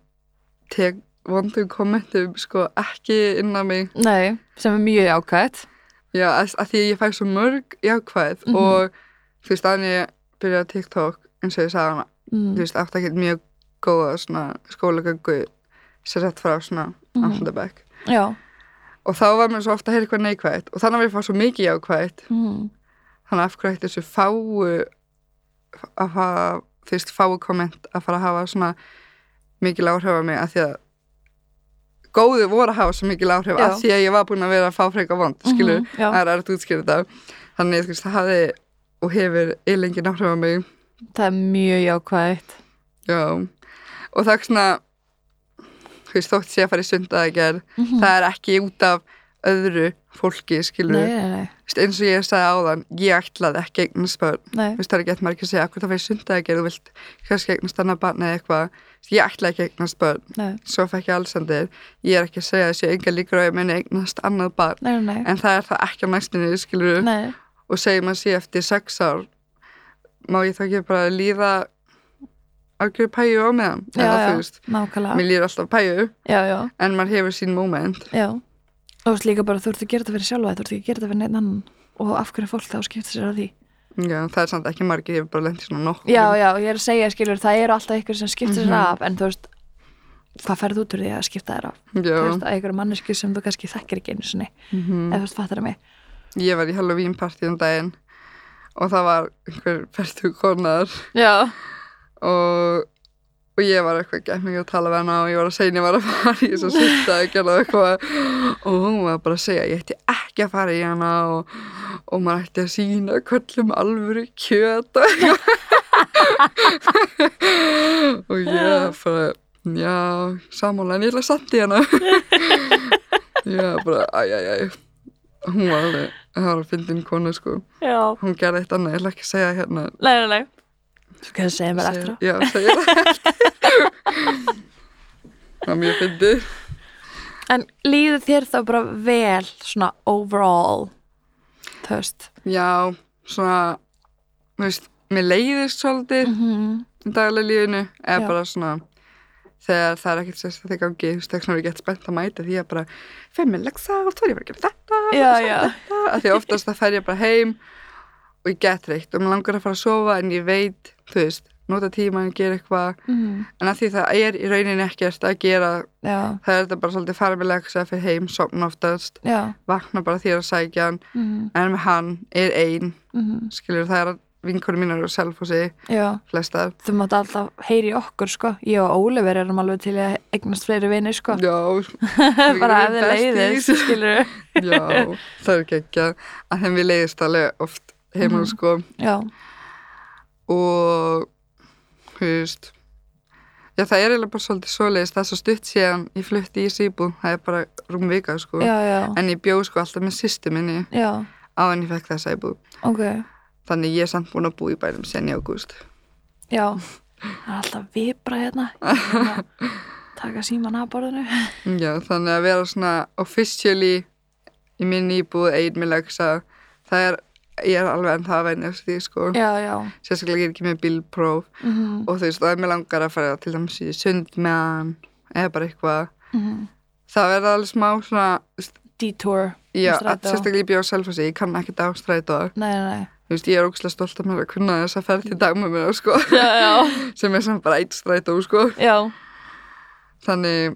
tek vondum kommentum sko ekki innan mig
nei, sem er mjög ákvæmt
Já, að, að því ég fæ svo mörg jákvæð
Mhm.
og þú veist, þannig ég byrjaði á TikTok eins og ég sagði hana, þú
mm,
veist, átti ekki mjög góða svona skólagöngu sér sett frá svona
Mhm.
áttundabæk
já,
og þá var mér svo ofta að heyra eitthvað neikvætt og þannig var ég að fá svo mikið jákvætt
mm,
þannig að af hverju ætti þessu fáu að hafa, þú veist, fáu komment að fara að hafa svona mikil áhrif á mig að því að góðu voru að hafa svo mikil áhrif
Já.
að því að ég var búin að vera að fá freka vond, skilur
mhm, já,
það er erfitt að útskýra þetta þannig þú veist, það hafi og hefur eilengin áhrif á mig
það er mjög ákvæmt
já. og það er svona þú veist, þótt sé að fara í sundaðagerð mm
Mhm.
það er ekki út af öðru fólki, skilur
nei, nei, nei,
Vist, eins og ég sagði áðan, ég ætlaði ekki eignast börn,
nei,
Þú veist, það er ekki eitthvað margir að segja, hvað það fyrir sundaðagerð, þú vilt kannski eignast annað barn eða eitthvað, Þú veist, ég ætlaði ekki eignast börn,
nei,
svo fekk ég allsandir ég er ekki að segja þessu, enga líkur á að ég muni eignast annað barn,
nei, nei,
en það er það ekki á næstinni, skilur
nei,
og segjum að sé eftir sex ár má ég þá ekki bara líða algjör pæju á meðan
Já,
eða
já.
þú veist,
nákvæmlega
mér líður alltaf pæju
já, já,
en maður hefur sín moment
Já, og þú veist líka bara þú ert að gera þetta fyrir sjálfa þig, þú ert ekki að gera þetta fyrir neinn annan og af hverju fólk þá skipta sér að því
já, það er samt ekki margir, ég hef bara lent í svona nokkur
Já, já, ég er að segja, skilur, það eru alltaf ykkur sem skipta sér
Mhm.
af en þú veist, hvað ferðu út úr því að skipta þér af þú veist, að ykkur manneski sem þú kannski þekkir ekki einu sinni
Mhm.
ef þú veist, fattar það mig
ég var í Halloween party um daginn og það var einhver færtu konar
Já,
og og ég var eitthvað gætt mikið að tala við hana og ég var að segja henni að ég var að fara í þess að sýtta að gera eitthvað og hún var bara að segja að ég ætti ekki að fara í hana og, og maður ætti að sína kvöllum alvöru kjöt og eitthvað. og ég bara já, sammála en ég ætla að satt í hana ég bara, æjæjæj hún var alveg, það var að fyndin konu sko,
já,
hún gerði eitt annað ég ætla ekki að segja hérna
nei, nei, nei Þú kannski segja mér eftir á
Segja- Já, segja það eftir. Það er mjög fyndið.
En líður þér þá bara vel svona overall þú veist
Já, svona, þú veist, mér leiðist svolítið
-hmm.
í daglega lífinu, eða
Já.
bara svona, þegar það er ekkert sérst að þeir gangi, þú veist, þegar svona er ég gett spennt að mæta því að bara, fer mér leggsa og þú er ég bara að gera þetta,
Já, já,
þetta, af því oftast það fer ég bara heim og ég get reitt og mér langar að fara að sofa en ég veit, þú veist, nota tíman, gera eitthvað,
Mhm.
en að því það er í rauninni ekkert að gera,
já,
það er þetta bara svolítið fara með leggsa fyrir heim, sopna oftast,
já
vakna bara því að sækja hann,
mhm,
en með hann er ein,
mhm,
skilur það er að vinkonum mínar eru selfhósi
já
flestar
Þú mátt alltaf heyri okkur sko Ég og Ólifur erum alveg til að eignast fleiri vinir sko
já, við
Bara ef
erum
þið leiðist,
besties.
skilur
já, það er gekkja að þeim við leiðist alveg oft heima
Mhm.
sko
Já,
og þú veist já það er eiginlega bara svolítið svoleiðist það er svo stutt síðan ég flutti í Sýbú það er bara rúm vika sko
já, já,
en ég bjó sko alltaf með sýstu minni
já,
á en ég fekk þessa íbú
ok
þannig ég er samt búin að búa í bænum sen í ágúst
Já, það er alltaf vibra hérna Ég er að Taka síman að borðinu
já þannig að vera svona officially í minni íbúð eigin með legsa það er ég er alveg ennþá að venjast því sko
Já, já
sérstaklega ég er ekki með bílpróf
mhm,
og þú veist, það er mér langar að fara til dæmis í sund með hann eða bara eitthvað
mhm.
það verða alveg smá svona
Detour Með
já, að
strætó.
sérstaklega ég bjóð sjálf að segja, ég kann ekkert á strætó
Nei, nei, nei
þú veist, ég er ógslag stolt af mér að kunna þess að ferð til dag með mér sko,
Já, já,
sem er samt bara eitt strætó sko.
já
þannig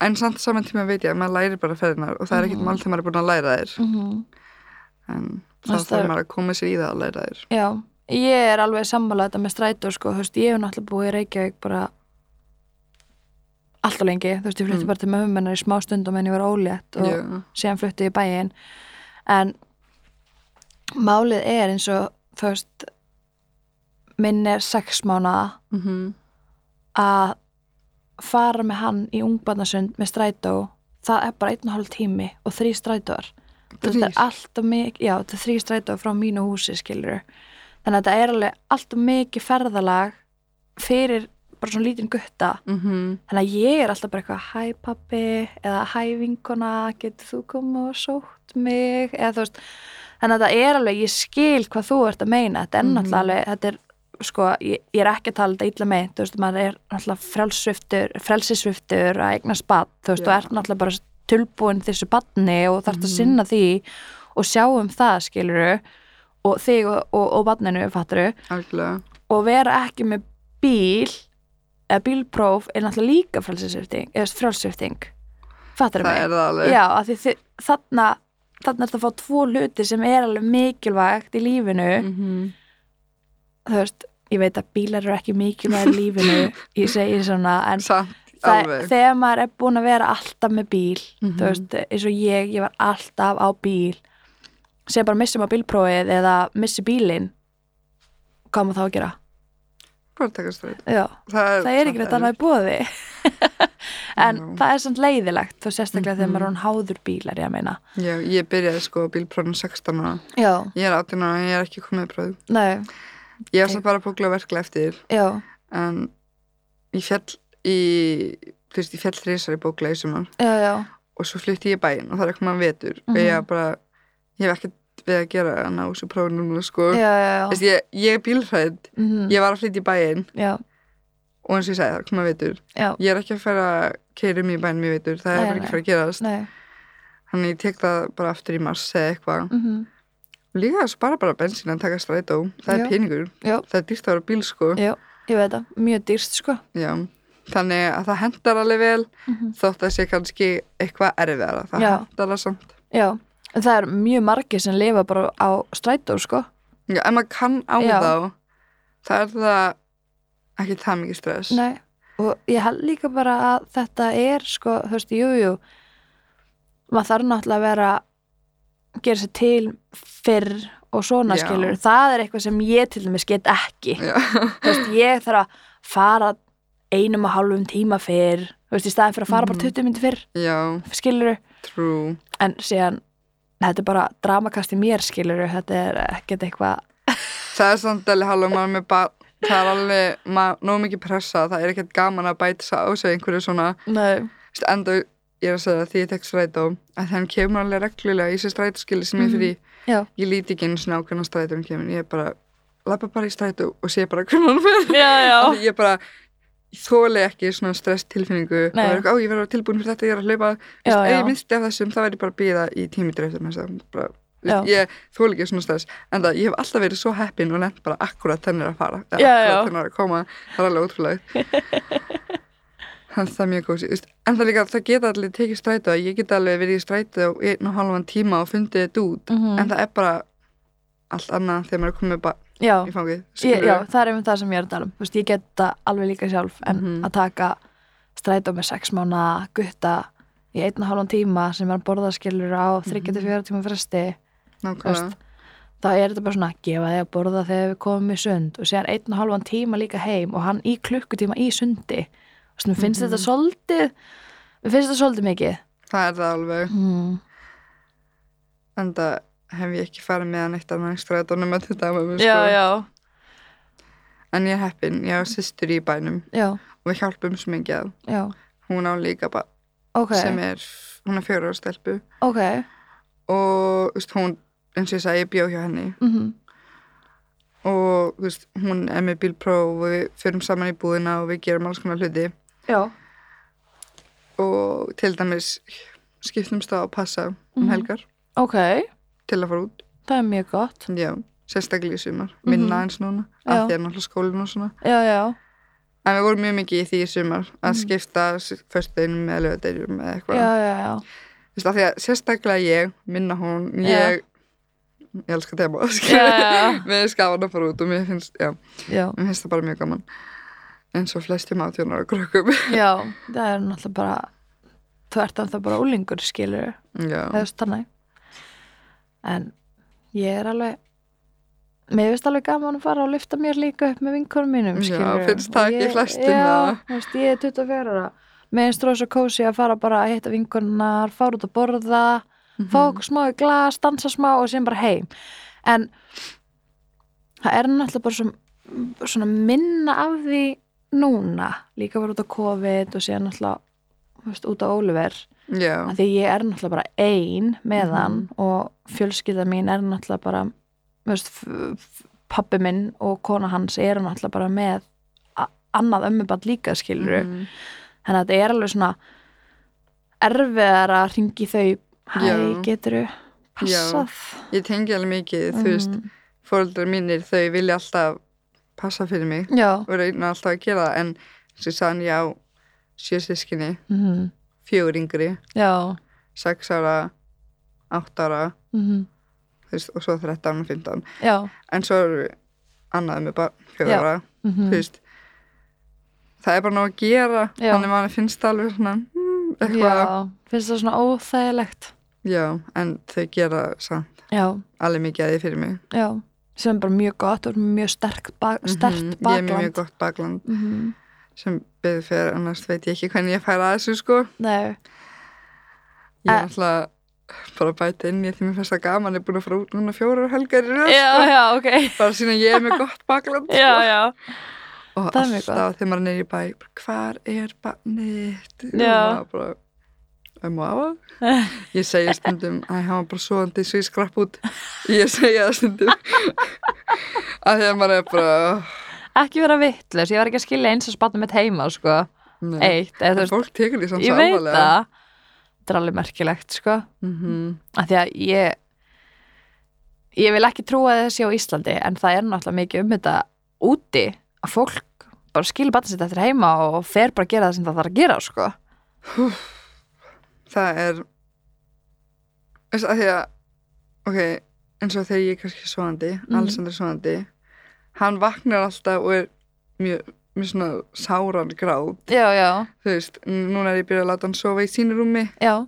en samt saman tíma veit ég að maður læri bara ferðinar og það er ekkert mál þegar maður er búin að læra þér
mhm.
en
Það
þá
er-
þarf maður að koma sér í það að læra þér
Já, ég er alveg sammála þetta með strætó sko, þú veist, ég hef náttúrulega búið í Reykjavík bara alltaf lengi, þú veist, ég flutti
Mm.
bara til mömmu mennar í smá stundum en ég var ólétt og
Já.
síðan flutti ég í bæinn en málið er eins og þú veist minn er sex mánaða
Mhm.
að fara með hann í ungbarnasund með strætó, það er bara einn og hálf tími og þrý strætóar þetta er
Þrír?
alltaf mikið, já þetta er þrý strætóar frá mínu húsi skilur þannig að þetta er alveg alltaf mikið ferðalag fyrir bara svona lítinn gutta
Mhm.
þannig að ég er alltaf bara eitthvað hæ pappi eða hæ vinkona getur þú koma og sótt mig eða þú veist þannig að þetta er alveg, ég skil hvað þú ert að meina þetta er
Mhm.
náttúrulega alveg, þetta er sko, ég, ég er ekki að tala þetta illa meint þú veist, maður er náttúrulega frelsviftur frelsisviftur að eigna spatt þú veist,
Já.
þú ert náttúrulega bara tilbúin þessu batni og þarft að
Mhm.
sinna því og sjá um það, skiluru og þig og, og, og batninu, fatturu
algjörlega
og vera ekki með bíl eða bílpróf er náttúrulega líka frálsifting eða frálsifting fattar
það er
mig?
það alveg
Já, af því þi- þarna þarna er það að fá tvo hluti sem er alveg mikilvægt í lífinu
Mhm.
þú veist, ég veit að bílar eru ekki mikilvægt í lífinu, ég segi svona en
samt,
það,
alveg
þegar maður er búin að vera alltaf með bíl
Mhm.
þú veist, eins og ég, ég var alltaf á bíl sem bara missum á bílprófið eða missi bílinn hvað á maður þá að gera?
bara taka stræt
Já það
það,
er ekki
samt
þetta annað í bóði en
Já.
það er samt leiðilegt þú sérstaklega þegar
Mhm.
maður er hún háður bílar ég meina
Já, ég byrjaði sko á bílprófnum 16 ára.
já,
Ég er 18 ára, ég er ekki komið bróð.
nei,
Ég var svo bara að bókla verklega eftir,
já,
en ég fjall í, þú veist, ég fjall þrísar í bókla í sumar
já, já
og svo flytti ég í bæinn og það er ekki maður vetur og ég
Mhm.
var bara, ég hef ekkert við að gera að ná þessu prófnum núna, sko.
já, já,
Þess, ég, ég er bílfræð,
Mhm.
ég var að flytja í bæinn
já,
og eins og ég sagði það er ekki maður vetur.
já,
Ég er ekki að fara að keira um í bæinn mér vetur, það er
Nei,
bara ekki
nei.
að fara að gerast.
nei
Þannig ég tek það bara aftur í mars eða eitthvað.
mhm,
Líka að spara bara bensín að taka strætó, það
Já.
er peningur.
já,
það er dýrt að vera bíl sko
já, ég veit það, mjög dýrst sko
já. þannig að það hendar alveg vel
Mhm.
þótt að sé kannski eitthvað erfiðara það
Já.
hendar alveg samt
já, en það er mjög margir sem lifa bara á strætó sko
já, ef maður kann á
Já.
þá það er það ekki það mikið stress
Nei, og ég held líka bara að þetta er sko, þú veist, jú, jú maður þarf náttúrulega að vera gera sér til fyrr og svona
Já.
skilur það er eitthvað sem ég til dæmis get ekki
Já.
þú veist, ég þarf að fara einum og hálfum tíma fyrr þú veist, í staðin fyrir að fara
Mhm.
bara 20 myndi fyrr
já,
skilur,
true
en síðan þetta er bara dramakast í mér skilur þetta er ekkert eitthvað
það er samt alveg hálf maður með bara það er alveg, maður, nóg mikið pressa það er ekkert gaman að bæta sig á sig einhverju svona
Nei.
Þú veist, enda ég er að segja það því ég tek strætó að hann kemur alveg reglulega í sér strætóskili sem ég
Mhm.
fyrir
Já.
ég líti ekki einu svona á hvernig strætó hann kemur ég bara, lappa bara í strætó og sé bara hvernig hann fer
Já, já.
Af því ég bara þóli ekki svona stress tilfinningu
Nei.
það er eitthvað, ó ég verður tilbúin fyrir þetta, ég er að hlaupa
Já,
Ef ég
já.
minnst af þessum, þá væri ég bara að býða í tímitur eftir mér bara,
Já.
veist, ég þóli ekki svona stress en það, ég hef alltaf verið svo heppin og lent bara akkurat þenni að fara
Já, já.
akkurat þenni að koma, það er alveg ótrúlega þannig að það er mjög góð síð en það líka, það geta allir tekið strætó ég get alveg verið í strætó í einn og halvan tíma og fundið þetta út
Mhm.
en það er bara allt annað þegar maður er komið bara
Já,
í fangið
ég,
skilurðu?
já, það er einmitt það sem ég er að tala um Þú veist, Ég get það alveg líka sjálf en
Mhm.
að taka strætó með sex mánu gutta í einn og hálfan tíma sem er borðaskilur á
Mhm.
3-4 tíma fresti
nákvæmlega
þá er þetta bara svona gefa þig að borða þegar við komum í sund og séðan einn og hálfan tíma líka heim og hann í klukkutíma í sundi og svona finnst þetta
Mhm.
svolítið mér finnst þetta svolítið mikið
það er það alveg
mm.
en það hef ég ekki farið með hann eitt annað í strætónum að þetta með mér
já,
sko. En ég er heppin, ég á systur í bænum
já,
og við hjálpum svo mikið að
já,
hún á líka bara
ok,
sem er, hún er fjóra ára stelpu
ok
og þú veist, hún, eins og ég sagði, ég bjó hjá henni
mm
og þú veist, hún er með bílpróf og við förum saman í búðina og við gerum alls konar hluti
já,
og til dæmis skiptumst á að passa um
Mhm.
helgar
ok,
til að fara út,
það er mjög gott
já, sérstaklega í sumar, minna
Mhm.
eins núna,
Já.
af því er náttúrulega skólinn og svona
já, já,
En við vorum mjög mikið í því í sumar að
Mhm.
skipta föstudeginum eða lögadeinum eða eitthvað.
já, já, já.
Þú veist, af því að sérstaklega ég, minna hún,
Já.
ég, ég elska tema,
já,
skilur.
já,
Mér finnst gaman að fara út og mér finnst, já,
já,
mér finnst það bara mjög gaman. En svo flestum átjónar og krökkum.
já, það er náttúrulega bara þú ert að það bara úlingur skilur
já,
eða stannig en ég er alveg mér finnst alveg gaman að fara og lyfta mér líka upp með vinkunum mínum
Já,
skilur
finnst það ekki flestum,
já,
eða?
þú veist, ég er 24 ára mér finnst rosa kósi að fara bara að hitta vinkunar fara út að borða
Mhm.
fá okkur smá í glas, dansa smá og síðan bara heim en það er náttúrulega bara svona, svona minna af því núna, líka bara út á COVID og síðan náttúrulega þú veist, út á Oliver,
já,
af því ég er náttúrulega bara ein með hann og fjölskylda mín er náttúrulega bara þú veist, f- f- pabbi minn og kona hans eru náttúrulega bara með a- annað ömmuband líka skilur
Mhm.
þannig að þetta er alveg svona erfiðar að ringi þau hæ,
Já.
getur þú passað
ég tengi alveg mikið, þú veist,
Mhm.
fóreldrar mínir, þau vilja alltaf passa fyrir mig
já,
og reyna alltaf að gera það, en svo sann ég á sjö sískinni,
mhm,
fjögur yngri,
já
sex ára, átt ára,
mhm,
þú veist, og svo 13 og 15
já
en svo erum við annað með bara
Já.
fjóra,
mhm,
þú veist það er bara nóg að gera
Já.
þannig að mann finnst það alveg svona mm, eitthvað,
já, finnst það svona óþægilegt
já. en þau gera samt
já,
alveg mikið að því fyrir mig
já sem er bara mjög gott og mjög sterk ba stert
Mhm, ég er með mjög
bakland
gott bakland
Mhm,
sem beður fyrir, annars veit ég ekki hvernig ég færa að þessu sko,
nei,
ég er
Eh.
alltaf bara að bæta inn í því mér finnst það gaman ég er búin að fara út núna fjórar helgar í röð,
já,
sko.
já, ok
bara sína ég er með gott bakland sko.
já, já,
og
Það er mjög
alltaf þegar maður er neyri í bæ bara, hvar er barnið
Já.
og maður bara um og afa ég segi stundum að hann var bara svoandi svo ég skrapp út ég segi það stundum að þegar maður er bara
ekki vera vittlis ég var ekki að skilja eins að spatna mitt heima sko,
nei.
eitt, eða þú
en
veist
fólk tekur því samt
ég veit það þetta er alveg merkilegt sko
mm
að því að ég ég vil ekki trúa þessi á Íslandi en það er náttúrulega mikið um þetta úti að fólk bara skilur batna sitt eftir heima og fer bara að gera það sem það þarf að gera sko.
það er þess að því að ok, eins og þegar ég er kannski svoandi
Mhm.
Alexander er svoandi hann vaknar alltaf og er mjög, mjög svona sáran gráð
já, já,
þú veist, núna er ég byrjað að láta hann sofa í sínu rúmi
já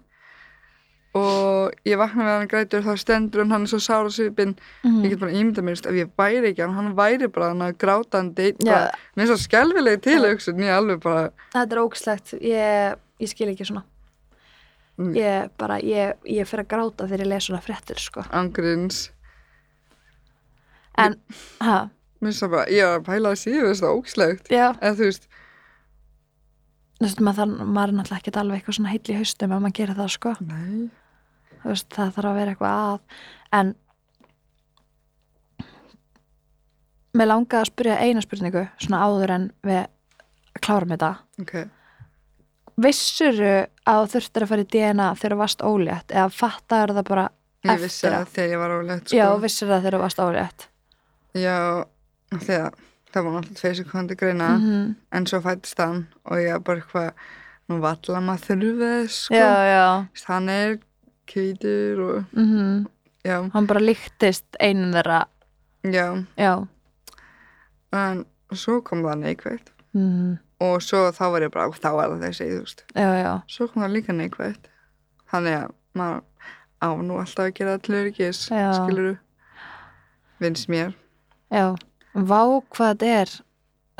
og ég vakna með hann grætur þá stendur hann, hann er svo sár og svipinn ég
mm.
get bara ímynda mér, þú veist, ef ég væri ekki hann, hann væri bara hann að grátandi einn,
Já.
bara, mér er svo skelfileg tilhugsun ég alveg bara,
þetta er ógslegt ég, ég skil ekki svona
Mm.
ég bara, ég, ég fer að gráta þegar ég les svona fréttir sko.
angriðins
en, ha,
mér er svo bara, ég var að pæla að síðu, þú veist, það ógslegt
já,
eða þú veist
þú veist, maður, þarf- maður er náttúrulega ekkert alveg eitthvað svona heill í haustum ef maður gerir það sko
Nei.
Þú veist, það þarf að vera eitthvað að en mér langaði að spyrja eina spurningu svona áður en við klárum þetta
Ok.
vissuru að þú þurftir að fara í DNA þegar þú varst ólétt eða fattar það bara
Ég
Eftir
vissi
að-
það þegar ég var ólegt, sko.
já, vissur það þegar þú varst ólétt
Já, af því að það var náttúrulega tveir sekundi greina,
mm -hmm.
en svo fættist hann og ég var bara eitthvað, nú valla maður þurfið, sko.
já, já
Veist, Hann er kvítur og,
mm
Mhm. já,
hann bara líktist einum þeirra
já.
já
En svo kom það neikvægt
mm
og svo þá var ég bara, þá er það þessi, þú veist.
já, já,
Svo kom það líka neikvægt. Þannig að maður á nú alltaf að gera allir ekki,
Já.
skilur þú, vinnst mér.
já vá hvað þetta er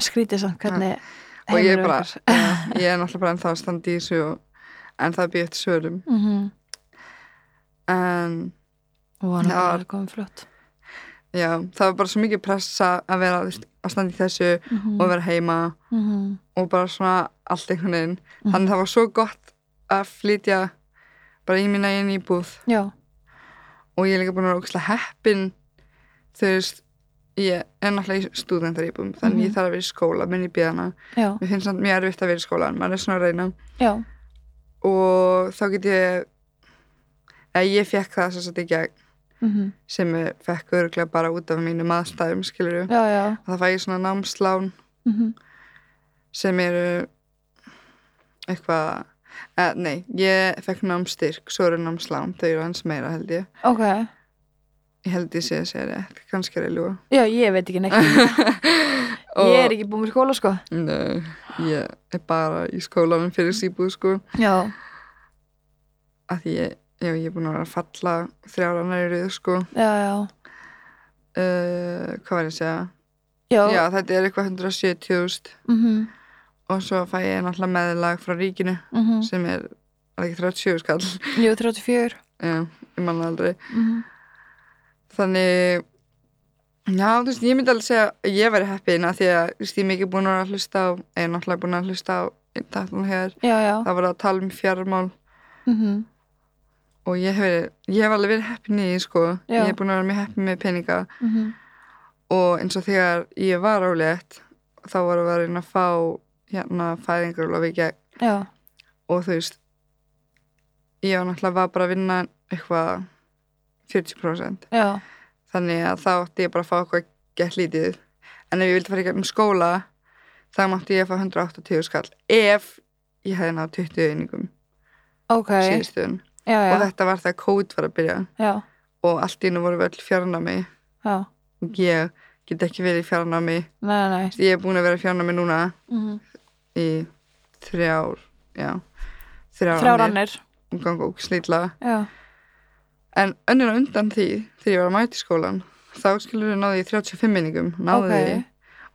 skrítið samt hvernig
og ég er
heimurinn
bara,
virkar.
já, ég er náttúrulega bara ennþá að standa í þessu og, en það býð eftir svörum
Mhm.
en
og hann
Já.
er komið flott
já, það var bara svo mikið pressa að vera þú veist, að standa í þessu
mm -hmm.
og vera heima
-hmm.
og bara svona allt einhvern veginn
Mhm.
þannig það var svo gott að flytja bara í mína einn íbúð
já,
og ég er líka búin að vera ógæslega heppin þú veist ég er náttúrulega í stúdentar íbúðum þannig
Mhm.
ég þarf að vera í skóla, minn í bíðana
já,
mér finnst það mjög erfitt að vera í skóla en maður er svona að reyna
já
og þá get ég eða ég fekk það sem sagt í gegn
mm
sem ég fekk öruglega bara út af mínum aðstæðum skilur
já, já
það fæ ég svona námslán
mm
sem eru eitthvað eða, nei, ég fekk námstyrk svo eru námslán, þau eru hans meira held ég
ok,
ég held ég sé að segja rétt, kannski er ég ljúa
já, ég veit ekki neitt ég er ekki búin með skóla sko
nei, ég er bara í skólanum fyrir síbúð sko
já,
að því ég, já, ég er búin að vera að falla þrjáranar í röðu sko
já, já
uh, hvað var ég að segja
já,
Já, þetta er eitthvað 170.000
Mm -hmm.
og svo fæ ég náttúrulega meðlag frá ríkinu
Mhm.
sem er alveg 30 skall
jú, 34
Já, ég manna aldrei
mm -hmm.
þannig já, þú veist, ég myndi alveg segja að ég væri heppin að því að þú veist, ég er mikið búin að vera að hlusta á ég er náttúrulega búin að hlusta á einn þáttan hér,
já, já
það var að tala um fjármál
mm
og ég hef, verið- ég hef alveg verið heppin í því, sko
Já.
ég er búin að vera mjög heppin með peninga
-hmm.
og eins og þegar ég var álegt þá varum við að reyna að fá hérna fæðingarúlof í gegn
já,
og þú veist ég var náttúrulega var bara að vinna eitthvað 40%
já,
þannig að þá átti ég bara að fá eitthvað gett lítið en ef ég vildi fara í gegnum skóla þá mátti ég að fá 180 skall ef ég hefði náð 20 einingum
ok
síðustuðun
já,
og
já,
þetta var það að kód var að byrja
já,
og allt í nú voru við öll fjarnámi
já
ég get ekki verið í fjarnámi
nei, nei, nei.
ég er búin að vera í fjarnámi núna
Mm
í þrjár já, þrjár Um
þrjárannir
annir gangu og slítla
já,
En önnur á undan því, þegar ég var að mæta í skólan, þá skilur ég náði í 35 minningum, náði
Ok.
því.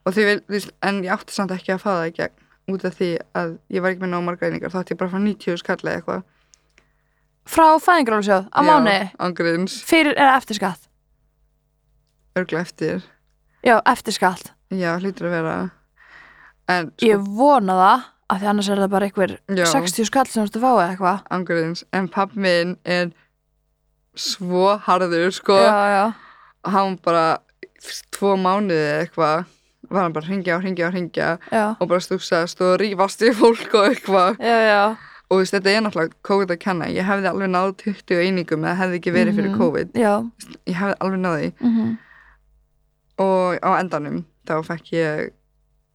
Og því vil, þú veist, en ég átti samt ekki að fá það í gegn, út af því að ég var ekki með nóg margar einingar, þá átti ég bara að fá 90 skall eða eitthvað.
frá fæðingarólusjóð á mánu
Ángriðins,
fyrir eða eftir skatt
örgla eftir.
já, eftir skatt,
Já, hlýtur að vera. En, sko,
ég vona það af því annars er það bara einhver
Já.
60 skall sem þú ert að fá eða eitthvað
ángriðins, en papp minn er svo harður, sko.
já, já,
Hann bara, tvo mánuði eða eitthvað, var hann bara að hringja og hringja og hringja
já
og bara stúksast og rífast við fólk og eitthvað.
já, já,
og þú veist, þetta er náttúrulega COVID að kenna ég hefði alveg náð 20 einingum eða hefði ekki verið fyrir
Mhm.
COVID
já
ég hefði alveg náði
mm
og á endanum þá fekk ég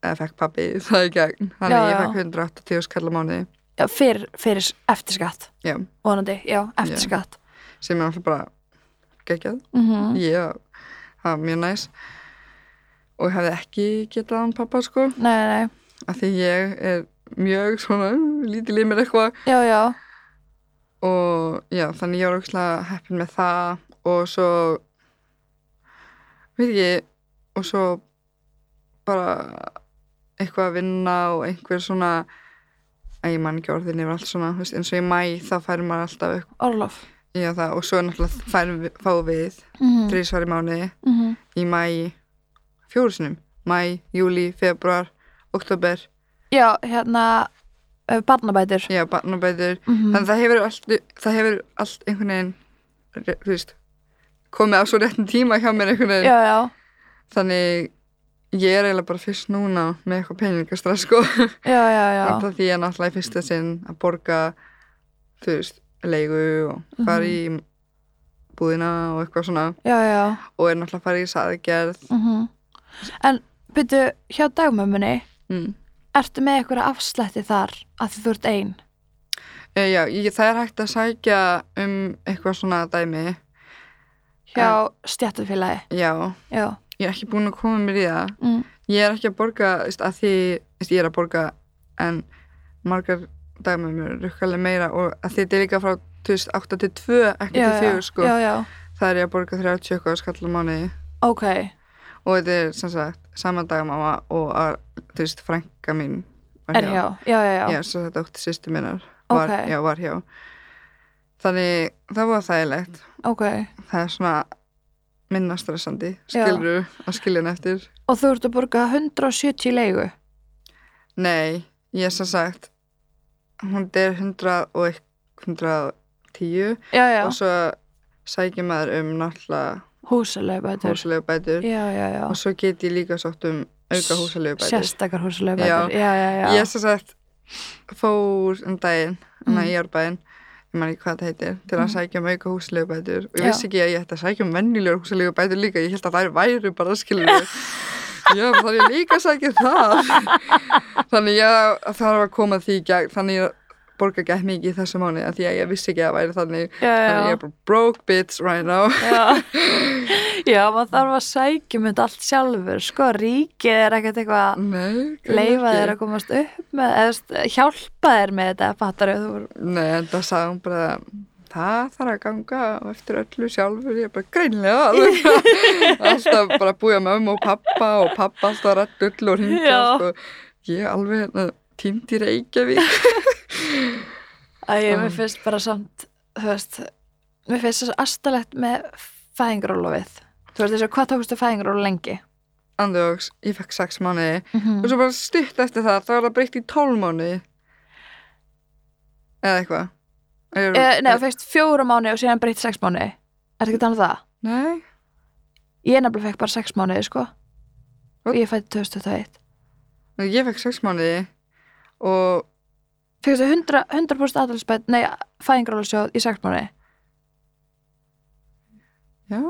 eða fekk pabbi það í gegn þannig
Já,
ég
já.
fekk 180 skall á mánuði
já fyrir, fyrir eftir skatt
já,
vonandi, já, eftir
Já.
skatt
sem er náttúrulega bara geggjað
mm
ég, það var mjög næs og ég hefði ekki getað hann pappa sko
nei, nei, nei,
af því ég er mjög svona lítið limir eitthvað
já, já
og já, þannig ég var ógæslega heppin með það og svo veit ekki og svo bara eitthvað að vinna og einhver svona að ég man ekki orðin yfir allt svona þú veist, eins og í mæ þá fær maður alltaf eitthvað
Orlof
já, það, og svo náttúrulega færum við, fá við
mm -hmm.
þrísvar í mánuði
Mm -hmm.
í mæ fjóru sinum mæ, júli, februar, oktober
já, hérna eh, barnabætur
já, barnabætur
Mhm.
þannig að það hefur allt, það hefur allt einhvern veginn re- þú veist, komið á svo réttin tíma hjá mér einhvern veginn
já, já,
þannig ég er eiginlega bara fyrst núna með eitthvað peningastress sko
já, já, já.
alltaf því ég er náttúrulega í fyrsta sinn að borga þú veist, leigu og fara
Mhm.
í búðina og eitthvað svona
já, já.
og er náttúrulega að fara í saðgerð
Mm En byrju, hjá dagmömmunni
mm.
ertu með einhverja afslætti þar að því þú ert ein
e, já, ég, það er hægt að sækja um eitthvað svona dæmi
hjá stjættufélagi
já,
Já,
ég er ekki búin að koma mér í það
mm.
ég er ekki að borga þú veist, að því þú veist, ég er að borga en margar dagmömmur rukkalega meira og að því þetta er líka frá þú veist, 8 til 2, ekki
já,
til 4 sko.
já, já,
það er ég að borga 30 eitthvað skall á mánuði
ok
og þetta er sem sagt sama dagmamma og að, þú veist, frænka mín var
Er hjá, já, já, já,
já, svo þetta ótti sýstu minnar var,
Ókei.
já, var hjá þannig það var þægilegt
ok
það er svona minna stressandi
Já.
skilru að skilja hann eftir
Og þú ert að borga 170 í leigu
Nei, ég sem sagt hún er 100 og eit- 110
Já, já,
og svo sækir maður um náttúrulega
húsalegu
húsalegu bætur
Já, já, já,
og svo get ég líka sátt um auka húsalegu bætur
sérstakar húsalegu
Já.
Já, já, já,
Ég sem sagt fór um daginn hann
Mm.
að ég er bæinn ég maður ekki hvað það heitir, til að
Mm.
sækja um auka húsalegu bætur og ég
Já.
vissi ekki að ég ætti að sækja um venjulegur húsalegu bætur líka ég held að þær væru bara skilur Já, þá er ég líka að sækja um það Þannig ég þarf að koma því í gegn, þannig ég borga ekki mikið í þessu mánu því að ég vissi ekki að það væri þannig
já, já.
þannig ég er bara broke bitch right now
Já, já maður þarf að sækja mynd allt sjálfur, sko, ríkið er ekkert eitthvað
Nei,
leifa þér
að
að komast upp með, eða þú veist, hjálpa þér með þetta, fattar þú voru,
Nei, en það sagði hún bara það þarf að ganga á eftir öllu sjálfur ég er bara greinlega alveg." alltaf bara að búja með ömmu og pappa og pappa alltaf að rætt öllu og hringja
Já.
sko. ég alveg hérna, týnd í Reykjavík
að ég, mér
Mm.
finnst bara samt, þú veist, mér finnst þessu astalegt með fæðingrólofið, þú veist þessu, hvað tókstu fæðingrólu lengi?
Andjóks, ég fekk sex mánuði og
-hmm.
svo bara stutt eftir það þá var það breytt í tólmáni eða eitthvað er,
e, nei, þú fegst fjóra mánu og síðan breytt sex mánu, er ekki þannig það?
nei,
Ég nefnilega fekk bara sex mánuði, sko, og
What?
ég fætti 2021.
nei, ég fekk sex mánuði og
Fegstu 100%, 100 aðhalsbætt, nei, fæðingrólusjóð í sex mánuði?
já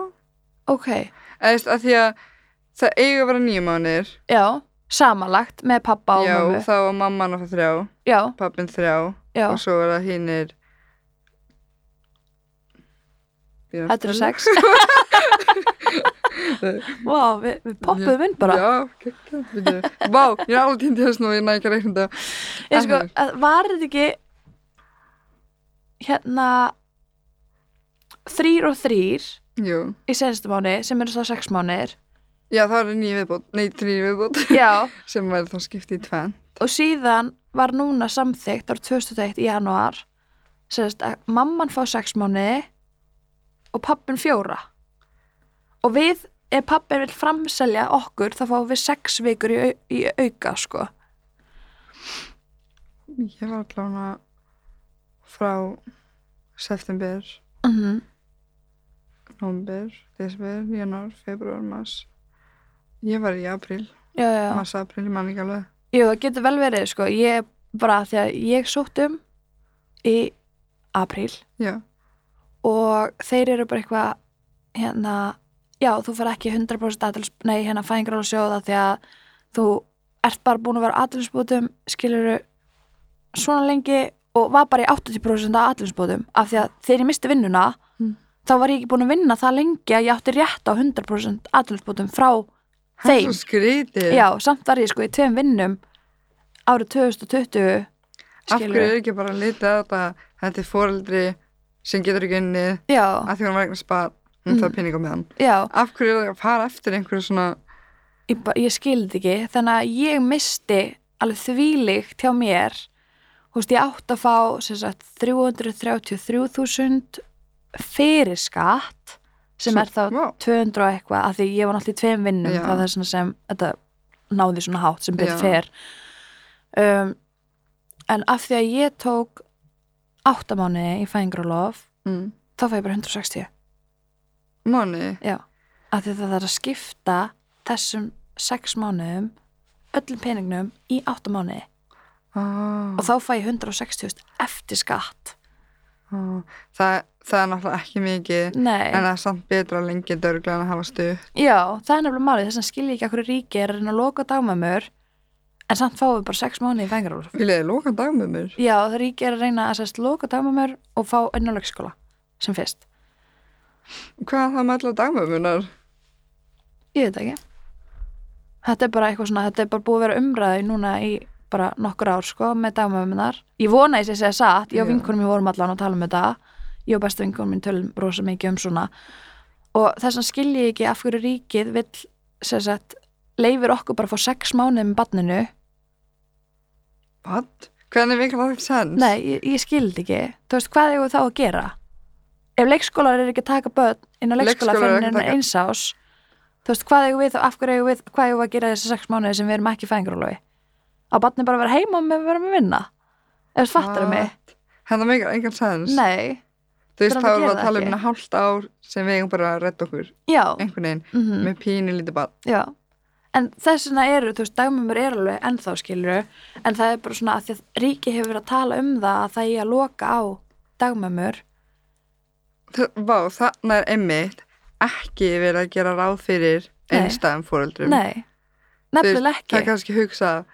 Ok,
eða veist, að því að það eiga að vera nýju mánuðir
já, samanlagt með pappa og
já,
mömmu.
þá var mamman að fá þrjá
Já,
pappin þrjá
já,
og svo var það hinnir
þetta er sex. Vá, við, við poppuðum inn bara.
já, kekja, vá, ég er alveg týndi þess nú ég næg ekki að reikna þetta
Ég sko,
Ennur.
að var þetta ekki hérna þrýr og þrýr
jú,
í senstu mánu sem eru svo sex mánuðir.
já, það var nýju viðbót nei, þrjú viðbót
Já,
sem væri þá skipti í tvenn
og síðan var núna samþygt árið 2001 í januar sérst að mamman fá sex mánuði og pappin fjóra og við ef pappin vil framselja okkur þá fáum við sex vikur í, au- í auka sko
Ég var allavega frá september,
mm
november, desember, januar, februar, mars. Ég var í apríl,
já, já.
mars, apríl, ég man ekki alveg.
Jú, það getur vel verið sko ég bara því að ég sótt um í apríl
Já,
og þeir eru bara eitthvað hérna, já þú fyrir ekki 100% aðlis, nei hérna fæðingar á sjóða því að þú ert bara búin að vera aðlisbótum, skiluru svona lengi og var bara í 80% af aðlisbótum af því að þegar ég misti vinnuna
Mm.
þá var ég ekki búin að vinna það lengi að ég átti rétt á 100% aðlisbótum frá
það er
þeim,
svo skrítið.
já samt var ég sko í tveim vinnum árið 2020
Af hverju
skilurðu.
er ekki bara að lita á þetta, þetta er foreldri sem getur ekki unnið,
já,
að því hún var eitthvað spart, hún þarf
Mm.
peninga með hann.
já
Af hverju er það að fara eftir einhverju svona,
ég, ba- ég skildi ekki þannig að ég misti alveg þvílíkt hjá mér þú veist ég átt að fá sem sagt, 333.000 fyrir skatt sem
Svo-
er þá
vá,
200 og eitthvað af því ég var náttúrulega í tveim vinnum
Já.
það er þess vegna sem þetta náði svona hátt sem betur
Já.
fer um, en af því að ég tók áttamánuði í fæðingarólof
mm.
þá fæ ég bara 160
Mánuði,
af því að það þarf að skipta þessum sex mánuðum öllum peningnum í áttamánuði
oh,
og þá fæ ég 160 eftir skatt
oh. Það, það er náttúrulega ekki mikið
Nei,
en það er samt betra lengi dörglega en að hafa stuð
já, það er nefnilega málið þess að skilja ekki okkur ríki er að reyna að loka dagmömmur en samt fáum við bara sex mánuði í fæðingarólof
Viljaði loka dag með mér?
Já, það ríki er að reyna að sérst loka dagmömmur og fá önnur lögskóla sem fyrst
Hvað er það með allar dagmömmunar?
Ég veit ekki. Þetta er bara eitthvað svona, þetta er bara búið að vera umræði núna í bara nokkur ár sko með dagmöfumunar. Ég vona að ég sé að segja satt, ég og
Já.
vinkunum ég vorum allan að tala um þetta. Ég og bestu vinkunum minn tölum rosa mikið um svona. Og þess vegna skilji ég ekki af hverju ríkið vill, sem sagt, leifir okkur bara að fá sex mánuði með barninu.
What? Hvernig vikar það ekki sens?
Nei, ég, ég skildi ekki. Þú veist, hvað eigum við þá að gera? Ef leikskólar eru ekki að taka börn inn á leikskóla
Leikskólar eru
fyrir
ekki að
enn
taka-
eins ás, þú veist, hvað eigum við þá, af hverju eigum við, hvað eigum við að gera þessi sex mánuði sem við erum ekki fæðingarólofi? Á barni bara að vera heima með að vera með vinna? Ef þú fattar mig?
Ah, Þetta mikar Hérna engan sens
Nei.
Þú veist,
Hvernig
þá
það
erum við
gera
að
það
tala
ekki?
um hálft ár sem við eigum bara að redda okkur
Já.
einhvern veginn
Mm
með pínu lítið barn
Já. En þess vegna eru, þú veist, dagmömmur eru alveg ennþá skiluru, en það er bara svona að því að ríki hefur verið að tala um það að það ég að loka á dagmömmur.
Þa- Vá, þarna er einmitt ekki verið að gera ráð fyrir
Nei.
einstæðum fóreldrum
Nei, nefnilega
Það er
ekki.
kannski hugsa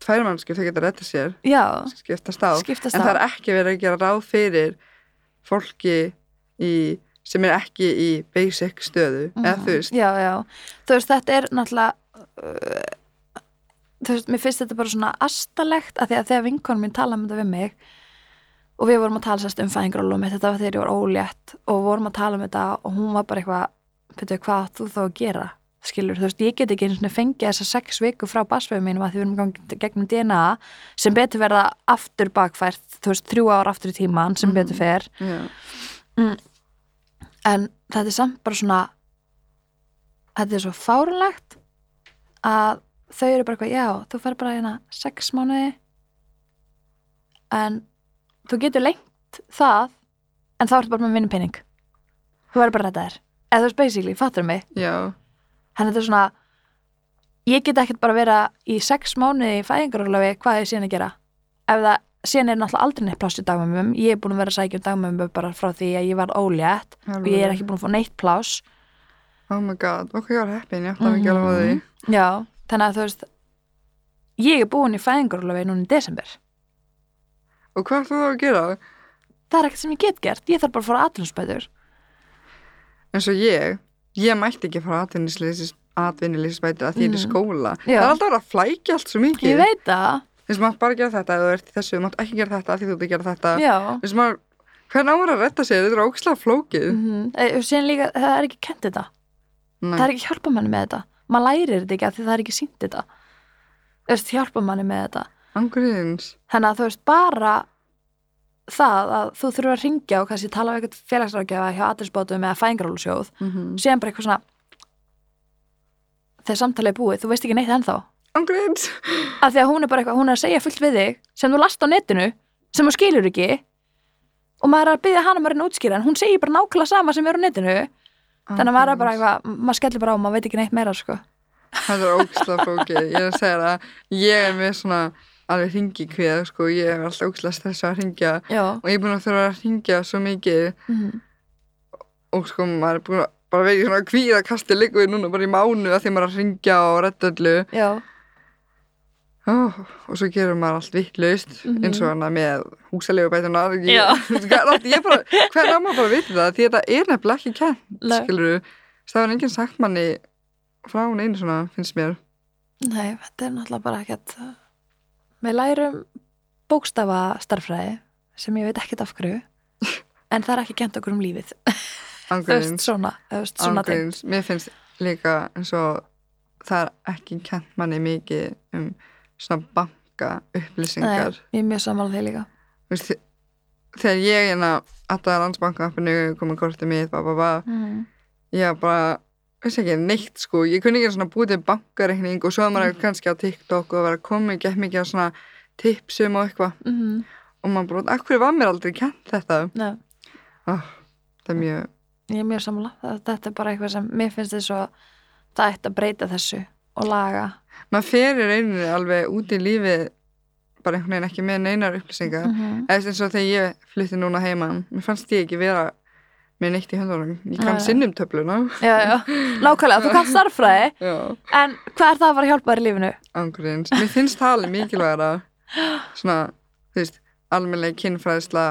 tværmannskip, þau geta redda sér
Já,
skiptast á,
skiptast
en
á.
það er ekki verið að gera ráð fyrir fólki í, sem er ekki í basic stöðu
Mhm.
eða þú veist,
já, já. þú veist, þetta er náttúrulega uh, þú veist, mér finnst þetta bara svona astalegt að því að þegar vinkonum mín talaði um þetta við mig og við vorum að tala sérst um fæðingrólum þetta var þegar ég var ólétt og vorum að tala um þetta og hún var bara eitthvað betur, hvað átt þú þá að gera? skilur, þú veist, ég get ekki einu sinni fengið þessar sex viku frá basföðu mínum að því við erum gangi gegnum DNA sem betur verða aftur bakfært, þú veist, þrjú ár aftur í tíman
Mhm.
sem betur fer
já,
en þetta er samt bara svona þetta er svo fárunlegt að þau eru bara eitthvað já, þú fer bara hérna sex mánuði en þú getur lengt það en þá ertu bara með minni pening þú verður bara reddaðir eða þú veist basically, fattur mig
já,
hann þetta er svona ég get ekkert bara vera í sex mánuði í fæðingarólafi hvað ég síðan að gera ef það síðan er náttúrulega aldrei neitt pláss í dagmömmum ég er búin að vera að sækja um dagmömmum bara frá því að ég var ólétt og ég er ekki búin að fá neitt pláss
oh my god, ok, ég var heppin, ég
Mhm.
ætlaði ekki alveg á því
já, þannig að þú veist ég er búin í fæðingarólafi núna í desember
og hvað ætlaði þú að gera?
það er ekkert sem ég get gert, ég þarf bara að fara aðlunnsbætur
eins og ég, ég mætti ekki fara atvinnilýsbætur að því ég er
Mm.
í skóla
Já.
það er alltaf að vera að flækja allt svo mikið
ég veit það,
þess að maður bara gera þetta ef þú ert í þessu, maður ekki gera þetta af því þú ert að gera þetta
já
þess að maður, hvernig á maður að retta sér, þetta er ógislega flókið
mm -hmm. síðan líka, það er ekki kent þetta
Nei.
Mm. það er ekki hjálpa manni með þetta maður lærir þetta ekki af því það er ekki sínt þetta þú veist, hjálpa manni með þetta
Angriðins,
þannig að þú veist bara það að þú þurfur að ringja og kannski tala við eitthvað félagsrákjafa hjá aðeinsbátum eða fæðingarólusjóð
mm -hmm.
síðan bara eitthvað svona þegar samtalið er búið, þú veist ekki neitt ennþá
angriðins
af því að hún er bara eitthvað, hún er að segja fullt við þig sem þú last á netinu, sem þú skilur ekki og maður er að byggja hana um að reyna að útskýra en hún segir bara nákvæmlega sama sem er á netinu þannig að maður er bara eitthvað, maður skellir bara á maður veit ekki neitt meira sko.
Þetta er ógislega flókið, ég er að segja það ég er með svona alveg ringi kveð sko, ég er alltaf ógislega stressað að ringja
Já,
og ég er búin að þurfa að ringja svo mikið
mhm.
og sko maður er búin að bara verið í svona kvíða kasti líku núna bara í mánu að því maður er að ringja og retta öllu
já,
oh, og svo gerir maður allt vittlust
Mhm.
eins og hana með húsalegu bætuna
Já.
hvernig á maður bara að vita það því þetta er nefnilega ekki kent
Nei.
skilur við, það er enginn sagt manni frá hún einu svona, finnst mér
Nei, þetta er náttúrulega bara ekkert uh, Við lærum bókstafa starffræði sem ég veit ekkert af hverju en það er ekki kent okkur um lífið Þú veist
ángurins,
svona, þú veist svona tengt.
ángurins mér finnst líka eins og það er ekki kent manni mikið um svona banka upplýsingar
Nei, ég er mjög sammála því líka
Þú veist, þegar ég hérna alltaf landsbanka appinu komið kortið mitt, bá, bá, bá
mm.
ég var bara, veist ekki, neitt sko ég kunni ekki svona búið til bankareikning og svo var maður kannski á TikTok og var að koma ekki mikið á svona tipsum og eitthvað
Mhm.
og maður bara, akkur var mér aldrei kent þetta
Nei,
oh, það er mjög
ég er mjög samla þetta er bara eitthvað sem, mér finnst þið svo það ætti að breyta þessu og laga
maður ferir einu alveg út í lífið bara einhvern veginn ekki með neinar upplýsingar
mm -hmm.
eða eins og þegar ég flutti núna heima mér fannst ég ekki vera með neitt í höndunum ég kann
Nei.
sinnum töfluna
já, já. nákvæmlega, þú kannst starffræði
já,
en hvað er það að fara að hjálpa þér í lífinu?
angurins, mér finnst það alveg mikilvægara svona, þú veist almennlega kynfræðsla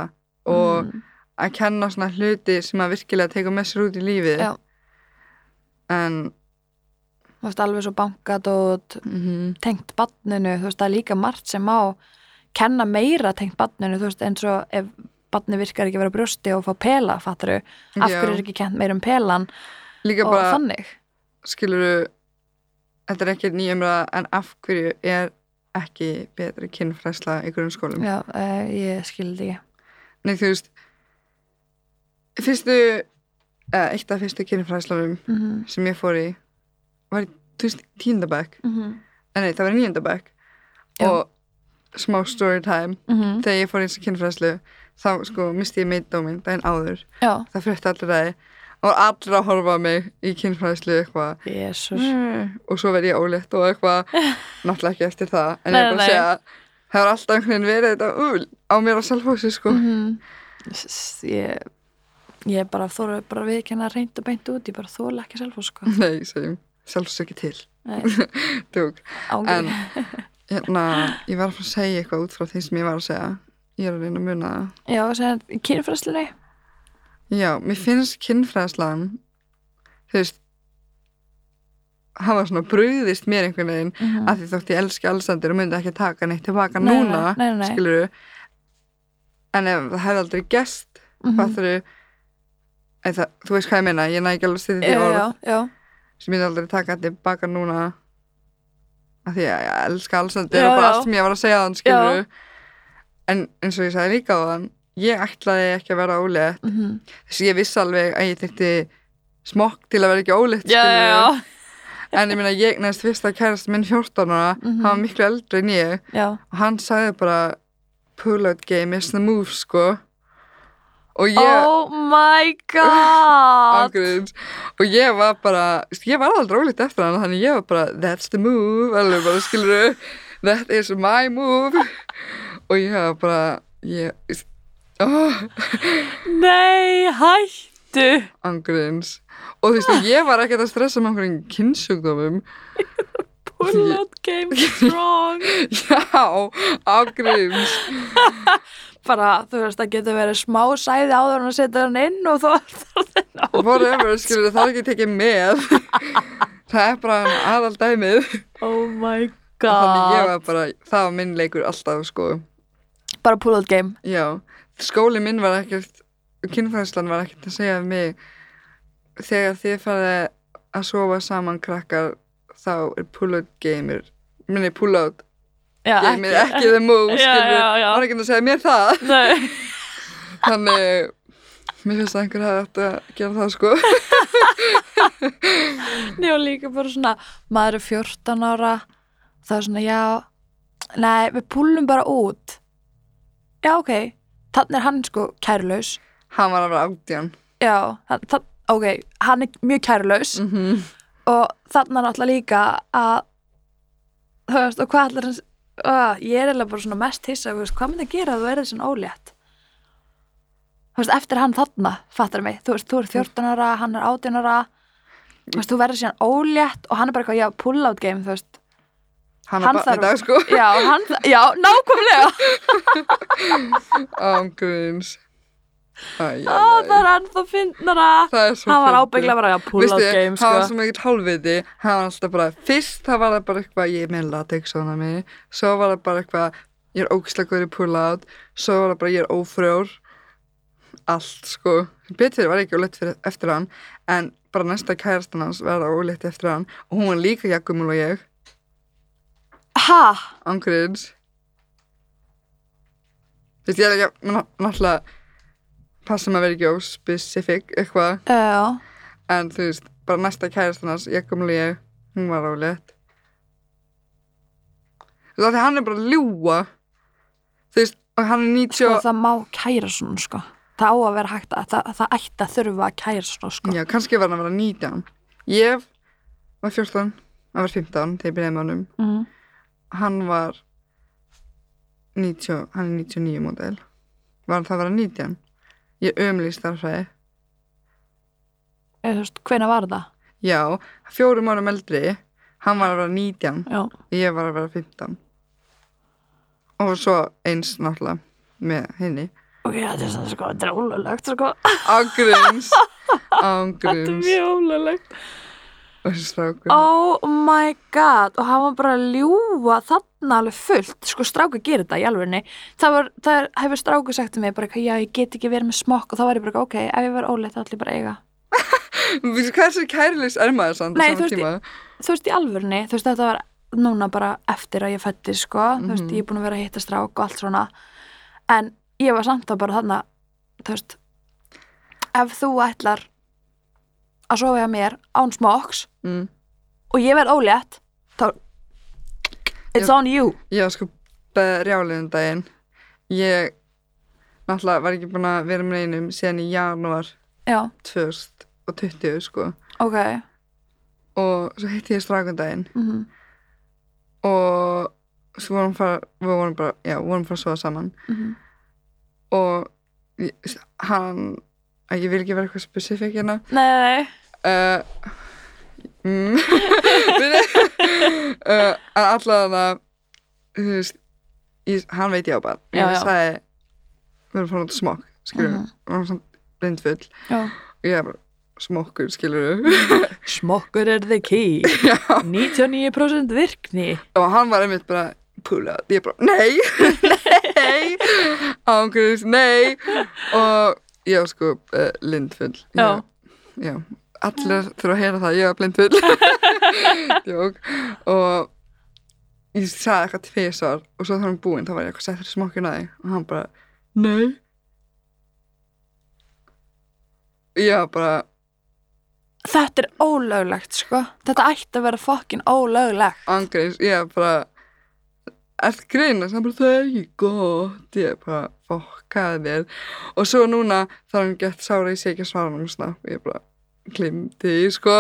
og
Mm.
að kenna svona hluti sem að virkilega teka með sér út í lífið
Já.
en
þú veist alveg svo bankað og
mm
tengt barninu, þú veist, það er líka margt sem má kenna meira tengt barninu, þú veist, eins og ef barni virkar ekki að vera á brjósti og fá pela, fattaru, af hverju er ekki kent meira um pelan
líka
og
bara
þannig.
skiluru þetta er ekki nýjumra en af hverju er ekki betri kynfræðsla í grunnskólum
Já, uh, ég skildi ekki.
Nei, þú veist fyrstu eða, eitt af fyrstu kynfræðslanum
Mm -hmm.
sem ég fór í var í, þú veist, tíndabæk
Mm -hmm.
en nei, það var í níundabæk
Já.
og smá story time
Mm -hmm.
þegar ég fór í þessu kynfræðslu þá sko misti ég meitdóminn daginn áður
Já,
það frétti allir að og var allir að horfa á mig í kynfræðslu eitthvað
jésus.
og svo verð ég ólétt og eitthvað náttúrulega ekki eftir það en ég
Nei,
er bara
nei.
að segja að það hefur alltaf einhvern veginn verið þetta úl á mér á selfhósi sko
Mm -hmm. Ég, ég bara þóra bara viðkenna reynd og beint út, ég bara þóla ekki sjálf og sko.
nei, segjum, selfhósi ekki til
Nei,
Dug. en
ángri.
hérna, ég var að fara að segja eitthvað út frá því sem ég var að segja ég er að reyna að muna það
Já, sem kynfræslinu.
já, mér finnst kynfræðslan þú veist hafa svona brugðist mér einhvern veginn
Mm
af því þótt ég elski Alexander og myndi ekki taka neitt tilbaka
Nei, nei,
núna
nei, nei.
skilurðu. en ef það hefði aldrei gest
-hmm.
fattur þú þú veist hvað ég meina, ég næ ekki alveg stið því
Já,
orð
já, já.
sem ég myndi aldrei taka tilbaka núna af því að ég elska alls þetta
Já,
er bara
já.
allt sem ég var að segja þann skilur en eins og ég sagði líka á þann ég ætlaði ekki að vera ólétt
Mm -hmm.
þess að ég vissi alveg að ég þyrfti smokk til að vera ekki ólétt
já, já,
skilurðu.
já.
en ég meina ég næst fyrst að kærast minn 14 ára
Mhm.
hann var miklu eldri en ég
já.
og hann sagði bara pull out game is the move sko og ég
Oh my god
ángríns og ég var bara, ég var aldrei ólíkt eftir hann þannig ég var bara, that's the move alveg bara, skilur that is my move og ég var bara ég, oh,
Nei, hættu
ángríns og þú veist, og ég var ekkert að stressa með einhverjum kynnsjúkdómum
Pull out game strong
já, ángríns
Bara, þú veist, það getur verið smá sæði áður en að setja hann inn og þú þarf þenn á
whatever, skilur, það er ekki tekið með það er bara aðaldæmið
Oh my
þannig ég
god
var bara, það var minn leikur alltaf, sko
Bara pull out game
Já, skóli minn var ekkert, kynfræðslan var ekkert að segja við mig þegar þið farið að sofa saman krakkar þá er pull-out gamer minni pull-out
Já,
gamer, ekki the move,
Já,
skilur
já, já.
hann var ekki að segja mér það
Nei,
þannig, mér finnst að einhver hafði átt að gera það sko
Nei, og líka bara svona Maður er 14 ára Það er svona, já Nei, við pullum bara út Já, ok Þannig er hann sko kærlaus
hann var að vera átján
Já, hann, það, ok, hann er mjög kærlaus
mm -hmm.
og þarna náttúrulega líka að þú veist, og hvað allir hans uh, ég er eiginlega bara svona mest hissa þú veist, hvað myndi að gera ef þú er þessin ólétt þú veist, eftir hann þarna fattar mig, þú veist, þú er 14 ára hann er 18 ára þú veist, þú verður síðan ólétt og hann er bara eitthvað, já, pull out game þú veist,
hann
Hann
var bara
þarf-
í dag sko
já, hann já, nákvæmlega,
ángurins
Ó, það er hann þá finnara
það er svo
Ah, hann var
fyndið.
ábygglega bara, já, pull
Veistu,
out game
hann var
sko.
svo mikið hálfviti hann var alltaf bara, fyrst það var það bara eitthvað ég er með latex svona mig svo var það bara eitthvað, ég er ógislagur í pull out svo var það bara, ég er ófrjór allt sko betur var ég ekki ólétt fyrir, eftir hann en bara næsta kærastan hans verða ólétt eftir hann og hún var líka jakkumul og ég
ha,
ángriðins þú veist, ég er ekki að- ná- náttúrulega passa maður að vera ekki óspecifik eitthvað
já
en þú veist, bara næsta kærastan hans ég komlega ég, hún var ólétt þú veist, af því hann er bara að ljúa þú veist, og hann er 90
sko,
og-
það má kæra svona sko það á að vera hægt að það, það ætti að þurfa að kæra svona sko
Já, kannski var hann að vera 19 Ég var 14 Hann var 15 þegar ég byrjaði með honum
mm.
Hann var 90, Hann er 99 módel Var hann það að vera 19 Ég ömlýst þar fræði
eða þú veist, hvenær var það?
Já, fjórum árum eldri Hann var að vera 19
Já,
Ég var að vera 15 Og svo eins náttúrulega með henni
ok, þetta er svona sko, þetta er ólulegt sko,
Ágruns
þetta er
Ágruns
mjög ólulegt
Og þessi strákur
Oh my god, og hann var bara að ljúga þarna alveg fullt, sko strákur gerir þetta í alvegni, það var, það er, hefur strákur sagt til mig bara, eitthvað, já, ég get ekki verið með smokk og þá var ég bara, ok, ef ég var óleitt þá ætlum ég bara að eiga
Hvað er þessi kærilegs er maður samt á
Nei,
sama
þú veist,
tíma?
þú veist, í alvörni, þú veist, þetta var núna bara eftir að ég fætti, sko, þú veist,
Mhm.
ég er búin að vera að hitta strák og allt svona, en ég var samt að bara þarna, þú veist, ef þú ætlar að sofa hjá mér án smóks
Mm.
og ég verð ólétt, þá, it's on you.
Já, sko, brjáliðin daginn. Ég, náttúrulega, var ekki búin að vera með einum síðan í janúar
Já,
2020, sko.
ok,
Og svo hitti ég strákun daginn
mm
og svo vorum fara, við vorum bara, já, vorum fara að sofa saman.
mhm.
Og ég- hann, að ég vil ekki vera eitthvað spesifik hérna.
nei, nei, nei,
Uh, mm, uh, en allavega, þú veist, ég, hann veit ég á bara.
Já,
Ég
já.
sagði, við erum farin út að smokk, skilur við.
Mhm.
Og hann var svona blindfull.
já.
Og ég er bara, smokkur, skilur við.
Smokkur er the key, 99% virkni.
og hann var einmitt bara, pull out. Ég bara, nei, nei, ángurins, nei. Og ég var sko uh, blindfull. Ég-
Já.
Já, allir þurfa að heyra það, ég var blindfull. Jók. Og ég sagði eitthvað tvisar og svo þá var hann búinn, þá var ég eitthvað settur smokkinn að þig og hann bara, nei. Ég var bara,
Þetta er ólöglegt, sko. Þetta ætti að vera fokkin ólöglegt.
angreins, ég er bara er það greinast, hann bara það er ekki gott ég er bara fokkaði þér og svo núna þá er hann gett sára ég sé ekki að svara hann svona og ég er bara glimti, sko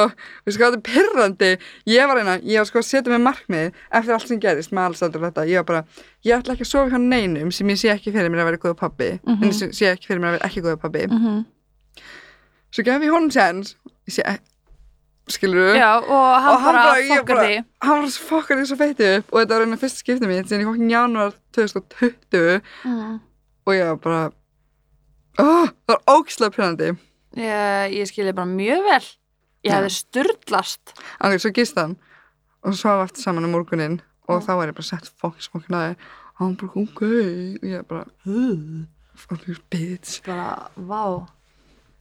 við sko þetta er pirrandi, ég var eina ég var sko að setja mig markmið eftir allt sem gerist með alls aldrei þetta, ég var bara ég ætla ekki að sofa hjá neinum sem ég sé ekki fyrir mér að vera góða pabbi, mm
Mhm.
en sem sé ekki fyrir mér að vera ekki góða pabbi,
Mm -hmm.
svo gef ég honum séns ég sé, skilur við
Já, og hann,
Og hann
bara,
bara- ég
fokkar
bara-
því.
hann var svo fokkar því svo feitið upp og þetta var einu fyrsta skiptið mitt síðan í hokkin janúar 2020
Mm.
og ég var bara oh, það var ógislega pyrrandi
Ég, ég skilði bara mjög vel. Ég
Já.
hefði sturdlast.
angrið svo gist hann og svo var aftur saman um morgunin og
Já.
þá var ég bara sett fokkin smokkin aði og hann bara ok og ég bara fucking bitch
Bara, vá.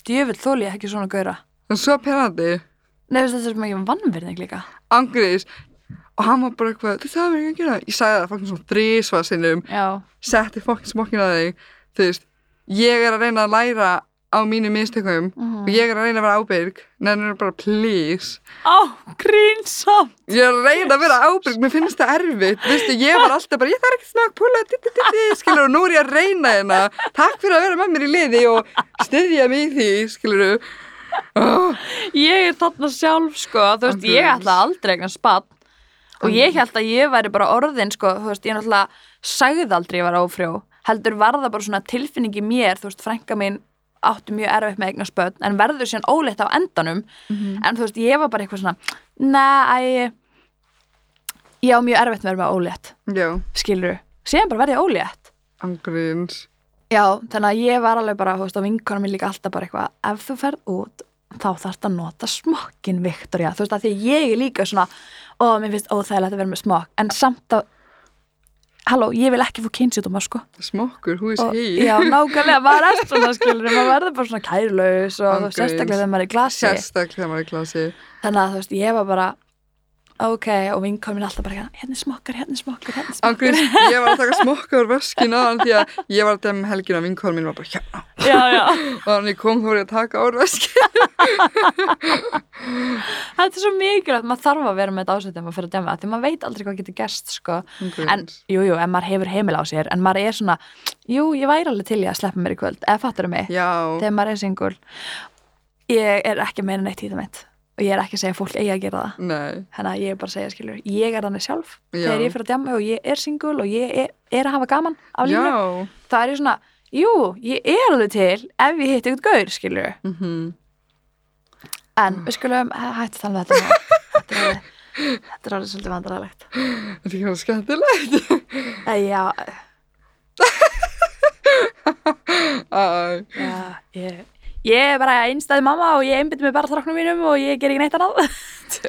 Djöfull þóli ég ekki svona gauðra.
það var svo pyrrandi
Nei, veistu, þetta er mjög vannverðing líka.
angriðis og hann var bara eitthvað þú það verður ekki að gera ég sagði það fokkin svona þrísvað sinnum
Já.
setti fokkin smokkin aði þú veist ég er að reyna að læra á mínu mistökum
Mm.
og ég er að reyna að vera ábyrg nefnir bara please
Á, grínsamt.
ég er að reyna að vera ábyrg, mér finnst það erfitt veistu, ég var alltaf bara, ég þarf ekki snakk púla, di, di, di, di, skilur, og nú er ég að reyna hérna takk fyrir að vera með mér í liði og styðja mig í því, skilur oh,
Ég er þarna sjálf, sko. Þú veist, ég
Andrews.
ætla aldrei eignan spatt. Og ég held að ég væri bara orðin, sko, þú veist, ég náttúrulega sagði aldrei ég var ófrjó. Heldur var það bara svona tilfinning í mér, þú veist, frænka mín átti mjög erfitt með eignan spött, en verður síðan óleitt á endanum. En þú veist, ég var bara eitthvað svona, næ, ég á mjög erfitt með að vera með ólétt,
já,
skilur Síðan bara verði ég ólétt.
angriðins
Já, þannig að ég var alveg bara, þú veist, á vinkonum minn líka alltaf bara eitthvað, ef þú ferð út, þá þarfst að nota smokkin, Viktoria, þú veist, að því að ég er líka svona, ó, mér finnst óþægilegt að vera með smokk, en samt að, halló, ég vil ekki fá kynsjúdóma, sko.
smokkur, hú is
Og,
he
já, nákvæmlega, maður er svona, skilur, maður verður bara svona kærlaus og
Ángríns.
sérstaklega þegar maður er í glasi.
sérstaklega þegar maður er í glasi
Þannig að, þú veist, ég var bara, ok, og vinkomin alltaf bara hérna, hérna er smokkar, hérna er smokkar, hérna er
Ángríns, ég var að taka smokka úr vaskinu aðan því að ég var að dæma helginu að vinkóðan mín var bara hérna
smokkar já, já,
og þannig kom þá var ég að taka úr vaskinu
þetta er svo mikilvægt maður þarf að vera með þetta ásett ef maður fyrir að dæma því maður veit aldrei hvað getur gerst sko. en, jú, jú, en maður hefur heimil á sér en maður er svona, jú, ég væri alveg til ég að sleppa mér í kvöld, eða fattur mig
Já,
þegar maður er singul ég er ekki meira neitt í það mitt og ég er ekki að segja að fólk eigi að gera það
nei,
þannig að ég er bara að segja, skilur, ég er þannig sjálf
Já.
þegar ég fyrir að djama og ég er singul og ég er, er að hafa gaman af
já
lífinu þá er ég svona, jú, ég er alveg til ef ég hitt ykkur gaur, skilur
mhm. Mm.
en við skulum hætti tala um þetta núna. þetta er orðið- þetta er alveg svolítið vandrarlegt
Þetta er ekki alveg skemmtilegt
já,
Æ,
já, ég ég er bara einstæði mamma og ég einbytti mig bara að þráknum mínum og ég ger ekki neitt annað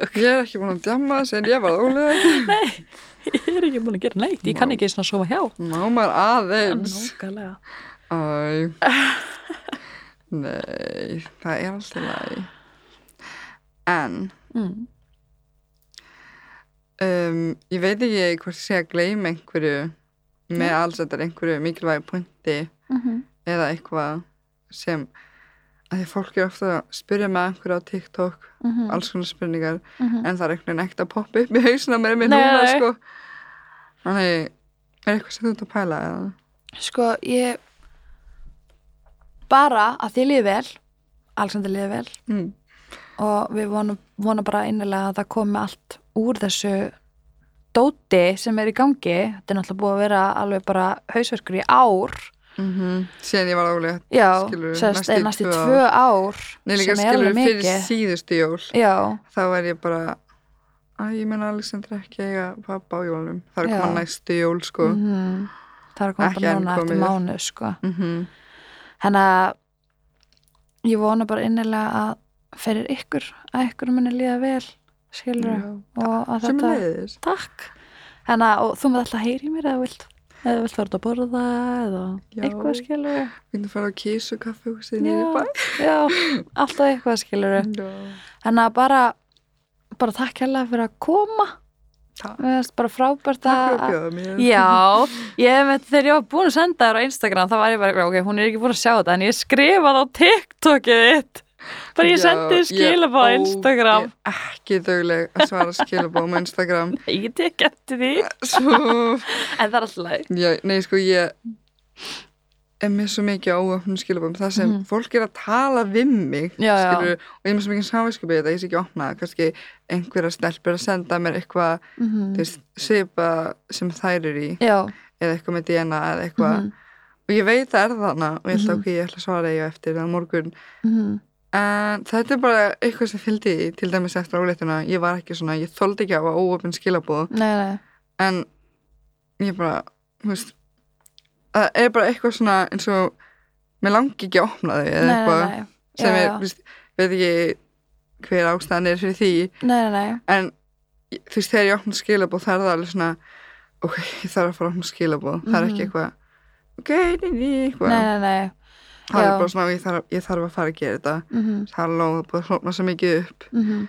Ég er ekki búin að djama sem ég var ólega
ég er ekki búin að gera neitt, ég kann ekki svona sofa hjá
Ná maður aðeins
Nókalega.
Æ Nei, það er alltaf læg En
Mm.
um, Ég veit ekki hvort ég sé að gleyma einhverju með alls þetta er einhverju mikilvægi punkti
mhm,
eða eitthvað sem að því fólk er ofta að spyrja með einhverju á TikTok
Mm.
alls konar spurningar
Mhm.
en það er einhvern veginn ekkert að poppa upp í hausina með mér
Nei,
núna
nei.
sko Þannig, er eitthvað sem þú ert að pæla eða?
Sko, ég bara að þið líði vel Alexander líði vel
Mm.
og við vonum, vonum bara innilega að það komi allt úr þessu dóti sem er í gangi þetta er náttúrulega búið að vera alveg bara hausverkur í ár
Mm Síðan ég var álega
já,
Skilurðu,
sérst,
næstu
er næstu
tvö
tvö ár
Nei, líka
sem er
skilur
alveg
fyrir
mikið
síðustu jól
já,
þá er ég bara að ég menna Alexander ekki eiga pappa á jólum það er
Já.
koma næstu jól sko
mm það er komið
Ekki
bara
enn
núna eftir
komið.
mánu sko.
Mhm.
þannig að ég vona bara innilega að fyrir ykkur að ykkur muni líða vel skilur og að
sem
þetta
leiðis
Takk. Þannig að og þú maður alltaf heyri mér eða vilt, eða vilt fara út að borða eða
Já.
eitthvað skilur.
við erum að fara á kísu kaffi og
Já,
síðan í bæ
já, alltaf eitthvað skilur.
Já.
Þannig að bara, bara takk hérlega fyrir að koma.
Takk.
Mér finnst bara frábært
takk fyrir
að...
að bjóða mér
Já, ég með þegar ég var búin að senda þér á Instagram þá var ég bara, ok, hún er ekki búin að sjá þetta en ég skrifaði á TikTokið þitt bara ég
Já,
sendi
ég-
skilabá á
ó,
Instagram
ég er ekki dögleg að svara skilabóðum á Instagram
ég get ekki eftir því en
svo
það er alltaf leið.
Já, nei, sko, ég er með svo mikið óöfnum skilabum það sem
Mhm.
fólk er að tala við mig
Já, já.
skilurðu, og ég er með svo mikið sáfiskupið þetta ég sé ekki opnað, kannski einhverja stelpur að senda mér eitthvað þú veist, svipa sem þær eru í
Já,
eða eitthvað með DNA eða eitthvað
Mhm.
og ég veit það er þarna og ég ætla
Mhm.
okkur ég ætla að svara ég eftir það á morgun
mhm.
en þetta er bara eitthvað sem fylgdi í, til dæmis eftir áleituna, ég var ekki svona ég þoldi ekki á að óöfn skilabóð
nei, nei.
en ég bara, þú veist það er bara eitthvað svona eins og mér langi ekki að opna þau eða
nei,
eitthvað
nei, nei.
sem
já,
er,
já.
þú veist, veit ekki hver ástæðan er fyrir því
Nei, nei, nei.
en ég- þú veist, þegar ég opna skilabóð það er það alveg svona ok, ég þarf að fara að opna skilabóð, það er ekki
Mhm.
eitthvað ok, nei, nei, eitthvað
nei, nei, nei.
það
já.
er bara svona, ég þarf, ég þarf að fara að gera þetta
Mhm,
halló, það er búið að hlóna svo mikið upp
mhm.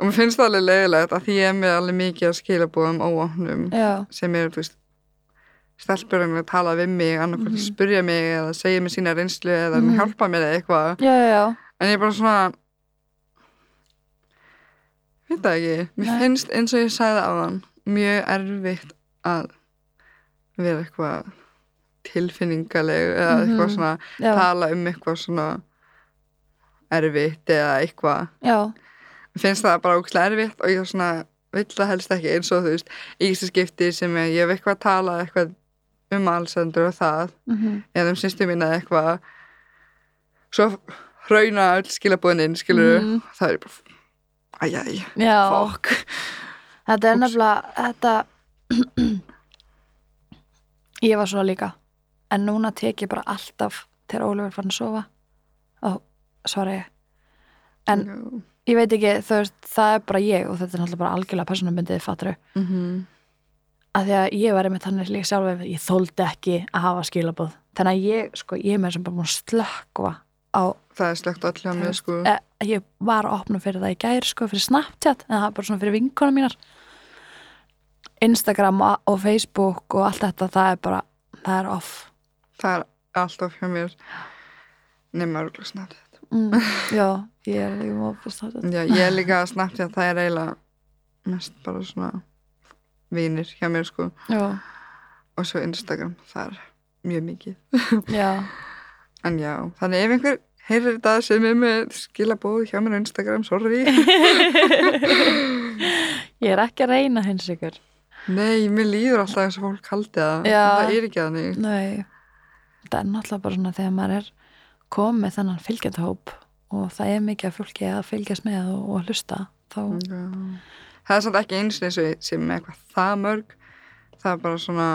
og mér finnst það alveg leiðilegt að því ég er með alveg mikið að skilabóðum óopnum
Já,
sem er, þú veist stelpur að tala við mig annarkvæmt að
Mhm.
spurja mig eða segja mér sína reynslu eða
Mhm.
hjálpa mér eða eitthvað
já, já, já.
en ég er bara svona veit það ekki mér
Nei.
finnst eins og ég sagði á þann mjög erfitt að vera eitthvað tilfinningaleg eða
Mhm.
eitthvað svona
Já,
tala um eitthvað svona erfitt eða eitthvað
já,
Mér finnst það bara ógæslega erfitt og ég er svona vill það helst ekki eins og þú veist í þessu skipti sem ég, ég hef eitthvað að tala eitthvað um allsendur og það
mhm,
eða um sýstu mín eða eitthvað svo hrauna öll skilabóðin skilur mm.
Mhm.
það er bara æjæj,
já.
fokk
Þetta er
Úps.
nefnilega, þetta, ég var svo líka, en núna tek ég bara alltaf þegar Ólafur fann að sofa og svara ég. En-
mm
Ég veit ekki, þú veist, það er bara ég og þetta er náttúrulega bara algjörlega persónumbyndið fattru. Mhm.
-hmm.
að því að ég var einmitt þannig líka sjálf ég þóldi ekki að hafa skilabóð þannig að ég, sko, ég er með sem bara múin slökva á
það er slögt all hjá mér sko
Eh, ég var að opna fyrir það í gær sko, fyrir Snapchat, en það er bara svona fyrir vinkonum mínar Instagram a- og Facebook og allt þetta það er bara, það er off
það er alltaf hjá mér nema örgulega snabbt
mm, já, ég er ekki móð fyrir Snapchat
já, ég er líka að snabbt að það er eiginlega mest bara svona vinir hjá mér sko
já,
og svo Instagram, það er mjög mikið
já,
en já, þannig ef einhver heyrir þetta sem er með skilabóð hjá mér á Instagram, sorry
ég er ekki að reyna hins ykkur
nei, mér líður alltaf eins og fólk haldi það
Já.
það er ekki þannig
nei, það er náttúrulega bara svona þegar maður er komið með þennan fylgjandahóp og það er mikið að fólki að fylgjast með og, og hlusta þá,
Já. það er samt ekki eins og sem með eitthvað það mörg það er bara svona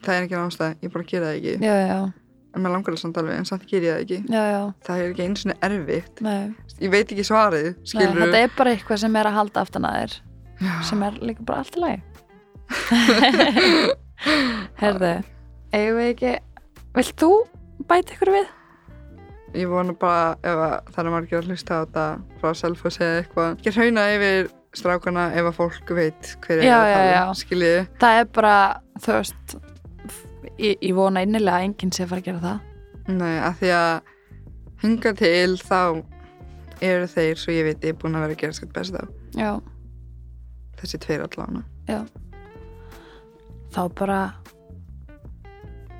það er ekki náttúrulega, ég bara gera það ekki
já, já,
en maður langar það samt alveg, en samt gera ég það ekki
já, já
það er ekki eins og erfitt
nei
ég veit ekki svarið,
Nei,
skilur
þetta er bara eitthvað sem er að halda aftan að þér sem er líka bara allt í lagi Herðu eigum við ekki Vilt þú bæta ykkur við?
ég vona bara ef að það er margir að hlusta á þetta frá self og segja eitthvað ekki hrauna yfir strákana ef að fólk veit hver er
Já,
að
já,
tala um,
já.
skiljiði,
Það er bara, þú veist ég, ég vona innilega að enginn sé að fara að gera það
nei, að því að hinga til þá eru þeir, svo ég veit, ég búin að vera að gera skil best á
Já,
þessi tveir allána
þá bara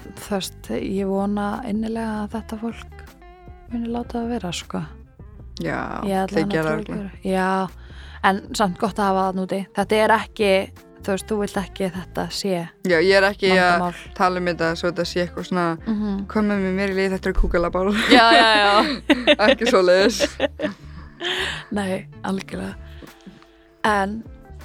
þú veist, ég vona innilega að þetta fólk muni láta það vera, sko
já,
Ég ætla
þeir
hann að
gera
trúa
örugglega.
ykkur. Já, en samt gott að hafa það núti. Þetta er ekki, þú veist, þú vilt ekki að þetta sé
já, ég er ekki að
vandamál.
tala um þetta svo þetta sé eitthvað svona
Mm -hmm.
komið með mér í leið þetta er kúkalabál
Já, já, já.
ekki svo leiðis
Nei, algjörlega. En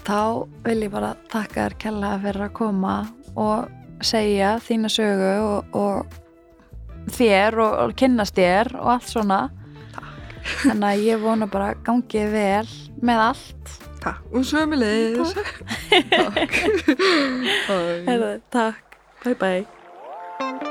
þá vil ég bara þakka þér kella fyrir að koma og segja þína sögu og, og þér og, og kynnast þér og allt svona. Takk. Þannig að ég vona bara gangið vel með allt.
takk, og sömu leiðis takk Bye.
Heyrðu, takk. Bye bye.